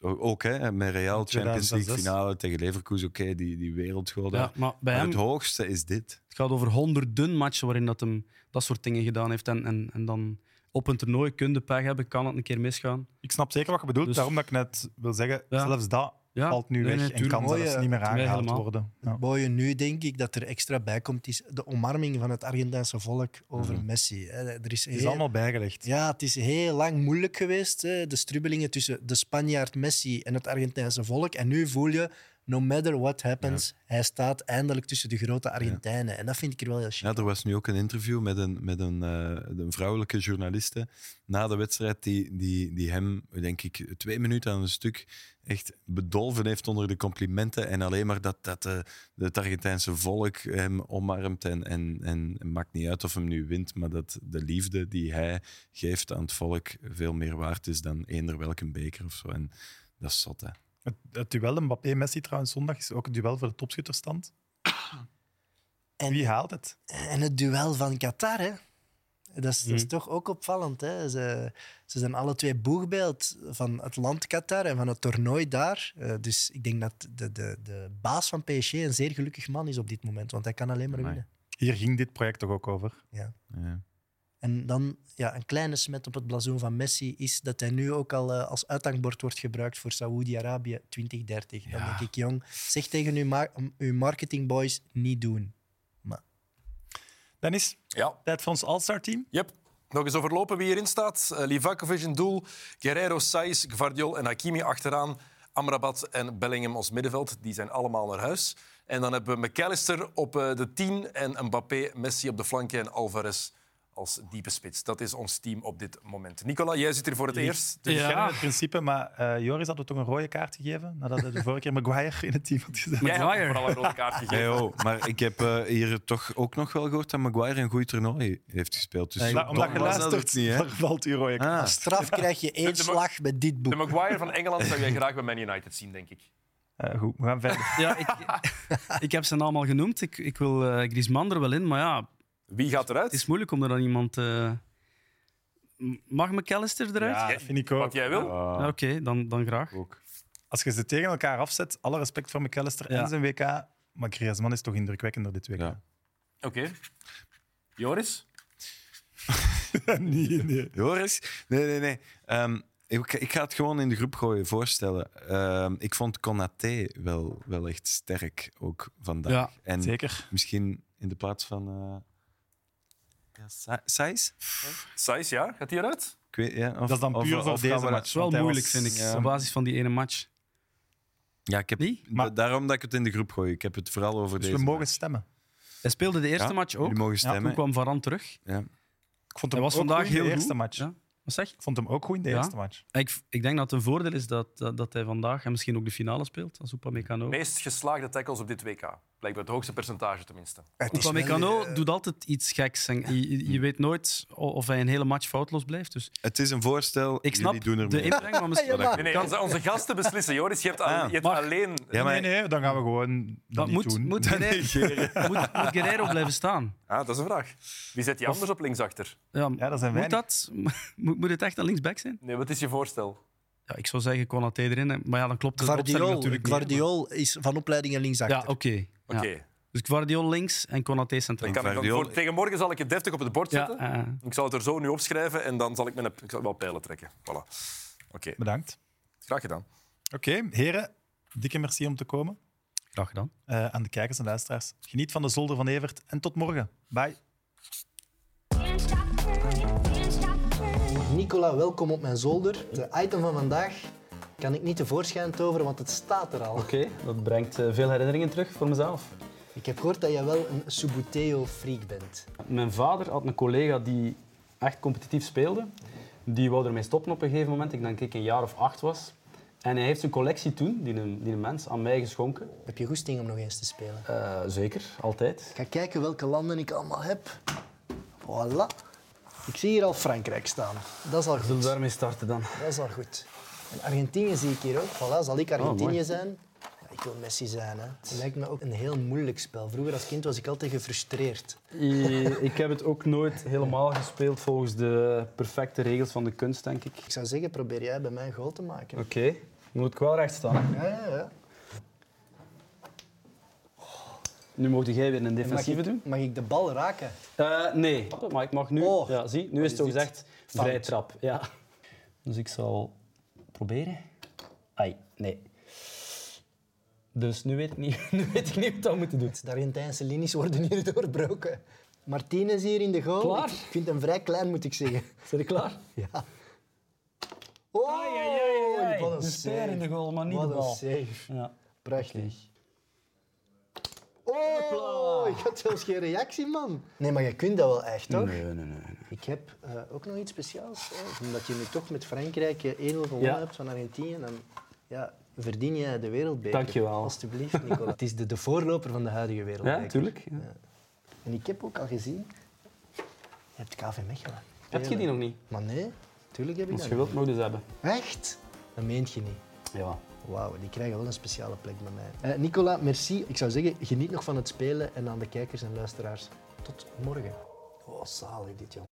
Speaker 4: Ook hè, met Real Champions League
Speaker 8: 2006.
Speaker 4: finale tegen Leverkusen, oké, die, die wereldgoal daar.
Speaker 6: ja, maar bij
Speaker 4: Maar
Speaker 6: hem,
Speaker 4: het hoogste is dit.
Speaker 6: het gaat over honderden matchen waarin dat hem dat soort dingen gedaan heeft. En, en, en dan op een toernooi kun je pech hebben, kan het een keer misgaan.
Speaker 8: Ik snap zeker wat je bedoelt,
Speaker 6: Dus-
Speaker 8: daarom dat ik net wil zeggen,
Speaker 6: Ja.
Speaker 8: zelfs dat
Speaker 6: Ja,
Speaker 8: valt nu
Speaker 6: nee,
Speaker 8: weg
Speaker 6: nee,
Speaker 8: en
Speaker 6: tuurlijk. Oh,
Speaker 8: kan
Speaker 2: Mooi,
Speaker 8: zelfs
Speaker 2: eh,
Speaker 8: niet meer
Speaker 6: het mij
Speaker 8: aangehaald
Speaker 6: helemaal.
Speaker 8: worden.
Speaker 2: Het
Speaker 8: Ja.
Speaker 2: mooie nu, denk ik, dat er extra bij komt, is de omarming van het Argentijnse volk over Messi. hè. Er is,
Speaker 8: Mhm. Het is
Speaker 2: heel-
Speaker 8: allemaal bijgelegd.
Speaker 2: Ja, het is heel lang moeilijk geweest, hè, de strubbelingen tussen de Spanjaard Messi en het Argentijnse volk. En nu voel je, no matter what happens, hij staat eindelijk tussen de grote Argentijnen. En dat vind ik er wel heel chic.
Speaker 4: Ja, er was nu ook een interview met een, met een, eh, een vrouwelijke journaliste na de wedstrijd die, die, die hem, denk ik, twee minuten aan een stuk echt bedolven heeft onder de complimenten en alleen maar dat, dat eh, het Argentijnse volk hem omarmt en, en, en het maakt niet uit of hem nu wint, maar dat de liefde die hij geeft aan het volk veel meer waard is dan eender welke beker of zo. En dat is zot, hè.
Speaker 8: Het, het duel Mbappé-Messi trouwens zondag is ook het duel voor de topschutterstand.
Speaker 2: En-
Speaker 8: Wie haalt het?
Speaker 2: En het duel van Qatar, hè? Dat is,
Speaker 4: Mhm.
Speaker 2: dat is toch ook opvallend. Hè? Ze, ze zijn alle twee boegbeeld van het land Qatar en van het toernooi daar. Eh, dus ik denk dat de, de, de baas van PSG een zeer gelukkig man is op dit moment, want hij kan alleen maar
Speaker 4: Amai.
Speaker 2: winnen.
Speaker 8: Hier ging dit project toch ook over?
Speaker 4: Ja.
Speaker 2: En dan ja, een kleine smet op het blazoen van Messi is dat hij nu ook al eh, als uithangbord wordt gebruikt voor Saoedi-Arabië 2030. Dan
Speaker 4: Ja.
Speaker 2: denk ik, jong, zeg tegen uw, ma- uw marketingboys, niet doen.
Speaker 8: Dennis,
Speaker 5: Ja,
Speaker 8: tijd voor ons All-Star team.
Speaker 5: yep. Nog eens overlopen wie hierin staat. Eh, Livakovic in doel, Guerrero, Saiz, Gvardiol en Hakimi achteraan. Amrabat en Bellingham als middenveld, die zijn allemaal naar huis. En dan hebben we McAllister op eh, de 10 en Mbappé, Messi op de flanken en Alvarez als diepe spits. Dat is ons team op dit moment. Nicola, jij zit hier voor het eerst.
Speaker 8: Dus
Speaker 6: Ja.
Speaker 8: ja. het principe, maar eh, Joris had we toch een rode kaart gegeven nadat hij de vorige keer Maguire in het team had gezet.
Speaker 5: Jij hebt vooral een rode kaart gegeven.
Speaker 4: Hey, oh, maar ik heb eh, hier toch ook nog wel gehoord dat Maguire een goed toernooi heeft gespeeld. Dus
Speaker 2: Ja,
Speaker 4: zo
Speaker 8: Maar omdat
Speaker 4: dom
Speaker 8: je
Speaker 4: was dat
Speaker 8: luistert,
Speaker 4: ook niet, hè?
Speaker 8: daar valt uw rode kaart.
Speaker 4: Ah,
Speaker 2: Straf krijg je één
Speaker 5: De- de-
Speaker 2: slag met dit boek.
Speaker 5: De Maguire van Engeland zou jij graag bij Man United zien, denk ik.
Speaker 8: Eh, goed, we gaan verder.
Speaker 6: Ah. Ja, ik, ik heb ze allemaal genoemd. Ik, ik wil eh Griezmann er wel in, maar ja,
Speaker 5: Wie gaat eruit?
Speaker 6: Het is moeilijk om er dan iemand. eh, m- Mag McAllister eruit?
Speaker 8: Ja, dat vind ik ook.
Speaker 5: Wat jij wil.
Speaker 6: Ja, Oké, dan, dan graag.
Speaker 8: Als je ze tegen elkaar afzet, alle respect voor McAllister
Speaker 6: Ja.
Speaker 8: en zijn WK, maar Griezmann is toch indrukwekkender dit WK.
Speaker 4: Ja.
Speaker 5: Oké. Joris?
Speaker 8: nee, nee.
Speaker 4: Joris? Nee, nee, nee. Ehm, ik, ik ga het gewoon in de groep gooien, voorstellen. Ehm, ik vond Konaté wel, wel echt sterk, ook vandaag.
Speaker 6: Ja,
Speaker 4: en
Speaker 8: Zeker.
Speaker 4: misschien in de plaats van... eh ja, Sa- Saiz?
Speaker 5: Saiz, ja? Gaat die eruit?
Speaker 4: Ik weet, ja, of,
Speaker 8: Dat is dan
Speaker 4: of-
Speaker 8: puur voor
Speaker 4: of gaan
Speaker 8: deze
Speaker 4: we-
Speaker 8: match.
Speaker 6: Het is wel
Speaker 8: want hij
Speaker 6: moeilijk,
Speaker 8: was-
Speaker 6: vind ik,
Speaker 4: ja.
Speaker 6: op basis van die ene match.
Speaker 4: Ja, ik heb,
Speaker 6: Niet?
Speaker 4: da-
Speaker 8: Maar-
Speaker 4: daarom dat ik het in de groep gooi. Ik heb het vooral over
Speaker 8: Dus
Speaker 4: deze
Speaker 8: we mogen
Speaker 4: match.
Speaker 8: stemmen.
Speaker 6: Hij speelde de eerste
Speaker 4: Ja,
Speaker 6: match ook.
Speaker 4: Jullie mogen
Speaker 8: Ja,
Speaker 6: Toen
Speaker 4: stemmen.
Speaker 6: kwam Varane terug.
Speaker 4: Ja.
Speaker 8: Ik vond hem
Speaker 6: Hij was
Speaker 8: ook goed
Speaker 6: vandaag
Speaker 8: in
Speaker 6: heel
Speaker 8: de
Speaker 6: goed.
Speaker 8: eerste match.
Speaker 6: Ja. Wat zeg je?
Speaker 8: Ik vond hem ook goed in de
Speaker 6: Ja.
Speaker 8: eerste match.
Speaker 6: Ik, ik denk dat het een voordeel is dat, dat, dat hij vandaag en misschien ook de finale speelt. Als Upamecano.
Speaker 5: Meest geslaagde tackles op dit WK. Blijkbaar het hoogste percentage tenminste.
Speaker 2: Het is wel,
Speaker 6: Upamecano
Speaker 2: eh,
Speaker 6: doet altijd iets geks. En je, je- je weet nooit o- of hij een hele match foutloos blijft. Dus
Speaker 4: Het is een voorstel.
Speaker 6: ik snap
Speaker 4: Jullie doen er
Speaker 6: de
Speaker 4: mee.
Speaker 6: inbreng, maar misschien...
Speaker 2: maar-
Speaker 5: Nee, nee, onze, onze gasten beslissen. Joris, je hebt, al-
Speaker 4: Ah,
Speaker 5: je hebt
Speaker 6: mag.
Speaker 5: alleen...
Speaker 4: Ja, maar-
Speaker 8: Nee, nee, dan gaan we gewoon dat
Speaker 6: Maar
Speaker 8: niet
Speaker 6: moet,
Speaker 8: doen.
Speaker 6: moet, Guerreiro, moet, moet Guerreiro blijven staan?
Speaker 5: Ah, dat is een vraag. Wie zet je anders op linksachter?
Speaker 6: Ja,
Speaker 8: Ja, dat zijn
Speaker 6: moet,
Speaker 8: weinig.
Speaker 6: dat, moet, moet het echt een linksback zijn?
Speaker 5: Nee, wat is je voorstel?
Speaker 6: Ja, ik zou zeggen Konaté erin, hè. maar ja, dan klopt het
Speaker 2: Guardiol,
Speaker 6: natuurlijk niet.
Speaker 2: Guardiol is van opleiding een linksachter.
Speaker 6: Ja, oké.
Speaker 5: Oké.
Speaker 6: Ja. Dus Guardiol links en Konaté
Speaker 5: Dan
Speaker 6: centraal.
Speaker 5: kan ik dan
Speaker 4: Guardiola-
Speaker 5: voor- tegen morgen zal ik het deftig op het bord
Speaker 6: Ja,
Speaker 5: zetten.
Speaker 6: eh,
Speaker 5: Ik zal het er zo nu opschrijven en dan zal ik, mijn, ik zal wel pijlen trekken. Voilà. Oké,
Speaker 8: Bedankt.
Speaker 5: graag gedaan.
Speaker 8: Oké, heren, dikke merci om te komen.
Speaker 6: graag gedaan.
Speaker 8: Eh, aan de kijkers en luisteraars. Geniet van de zolder van Evert en tot morgen. Bye.
Speaker 3: Can't stop, can't stop.
Speaker 2: Nicola, welkom op mijn zolder. De item van vandaag. kan ik niet tevoorschijn toveren, want het staat er al.
Speaker 6: Oké, dat brengt eh, veel herinneringen terug voor mezelf.
Speaker 2: Ik heb gehoord dat jij wel een Subuteo-freak bent.
Speaker 6: Mijn vader had een collega die echt competitief speelde. Die wou ermee stoppen op een gegeven moment. Ik denk dat ik een jaar of acht was. En hij heeft zijn collectie toen, die een, die een mens, aan mij geschonken.
Speaker 2: Heb je goesting om nog eens te spelen?
Speaker 6: Eh, zeker, altijd.
Speaker 2: Ik ga kijken welke landen ik allemaal heb. Voilà. Ik zie hier al Frankrijk staan. Dat is al
Speaker 6: Zullen
Speaker 2: goed.
Speaker 6: we daarmee starten dan?
Speaker 2: Dat is al goed. En Argentinië zie ik hier ook. Voilà, zal ik
Speaker 6: Oh,
Speaker 2: Argentinië
Speaker 6: mooi.
Speaker 2: zijn? Ja, ik wil Messi zijn. Hè. Het lijkt me ook een heel moeilijk spel. Vroeger als kind was ik altijd gefrustreerd.
Speaker 6: I- Eh, Ik heb het ook nooit helemaal gespeeld volgens de perfecte regels van de kunst, denk ik.
Speaker 2: Ik zou zeggen, probeer jij bij mij een goal te maken.
Speaker 6: Oké, moet ik wel recht staan. hè?
Speaker 2: Ja, ja, ja.
Speaker 6: Nu mocht jij weer een
Speaker 2: Mag
Speaker 6: defensieve
Speaker 2: ik,
Speaker 6: doen?
Speaker 2: mag ik de bal raken?
Speaker 6: Eh, nee, maar ik mag nu.
Speaker 2: Oh,
Speaker 6: ja, zie, nu
Speaker 2: wat
Speaker 6: is
Speaker 2: is
Speaker 6: het toch
Speaker 2: dit?
Speaker 6: gezegd vrij
Speaker 2: Fout.
Speaker 6: trap. Ja. Dus ik zal proberen. Ai, nee. Dus nu weet ik niet, nu weet ik niet wat dat moeten doen.
Speaker 2: De Argentijnse linies worden hier doorbroken. Martinez hier in de goal.
Speaker 6: Klaar.
Speaker 2: Ik vind hem vrij klein, moet ik zeggen.
Speaker 6: Zijn we klaar?
Speaker 2: Ja. Oh, wat een
Speaker 6: De speer in de goal, maar niet de
Speaker 2: Wat een
Speaker 6: bal.
Speaker 2: save.
Speaker 6: Ja.
Speaker 2: Prachtig. Oh, ik had zelfs geen reactie, man. Nee, maar je kunt dat wel echt, toch?
Speaker 6: Nee, nee, nee. nee.
Speaker 2: Ik heb eh, ook nog iets speciaals. Hè. Omdat je nu toch met Frankrijk eh, 1-0 gewonnen
Speaker 6: Ja.
Speaker 2: hebt van Argentinië, dan ja, verdien je de wereldbeker.
Speaker 6: Dankjewel.
Speaker 2: Alsjeblieft, Nicola. Het is de, de voorloper van de huidige wereldbeker.
Speaker 6: Ja, tuurlijk. Ja.
Speaker 2: En ik heb ook al gezien, je hebt KV Mechelen.
Speaker 6: Heb je die nog niet?
Speaker 2: Maar nee, tuurlijk heb ik
Speaker 6: Als
Speaker 2: dat
Speaker 6: je wilt, mag je dus hebben.
Speaker 2: niet. Echt? Dat meent je niet.
Speaker 6: Ja.
Speaker 2: Wauw, die krijgen wel een speciale plek bij mij. Eh, Nicola, merci. Ik zou zeggen, geniet nog van het spelen en aan de kijkers en luisteraars. Tot morgen. Oh, zalig dit, jong.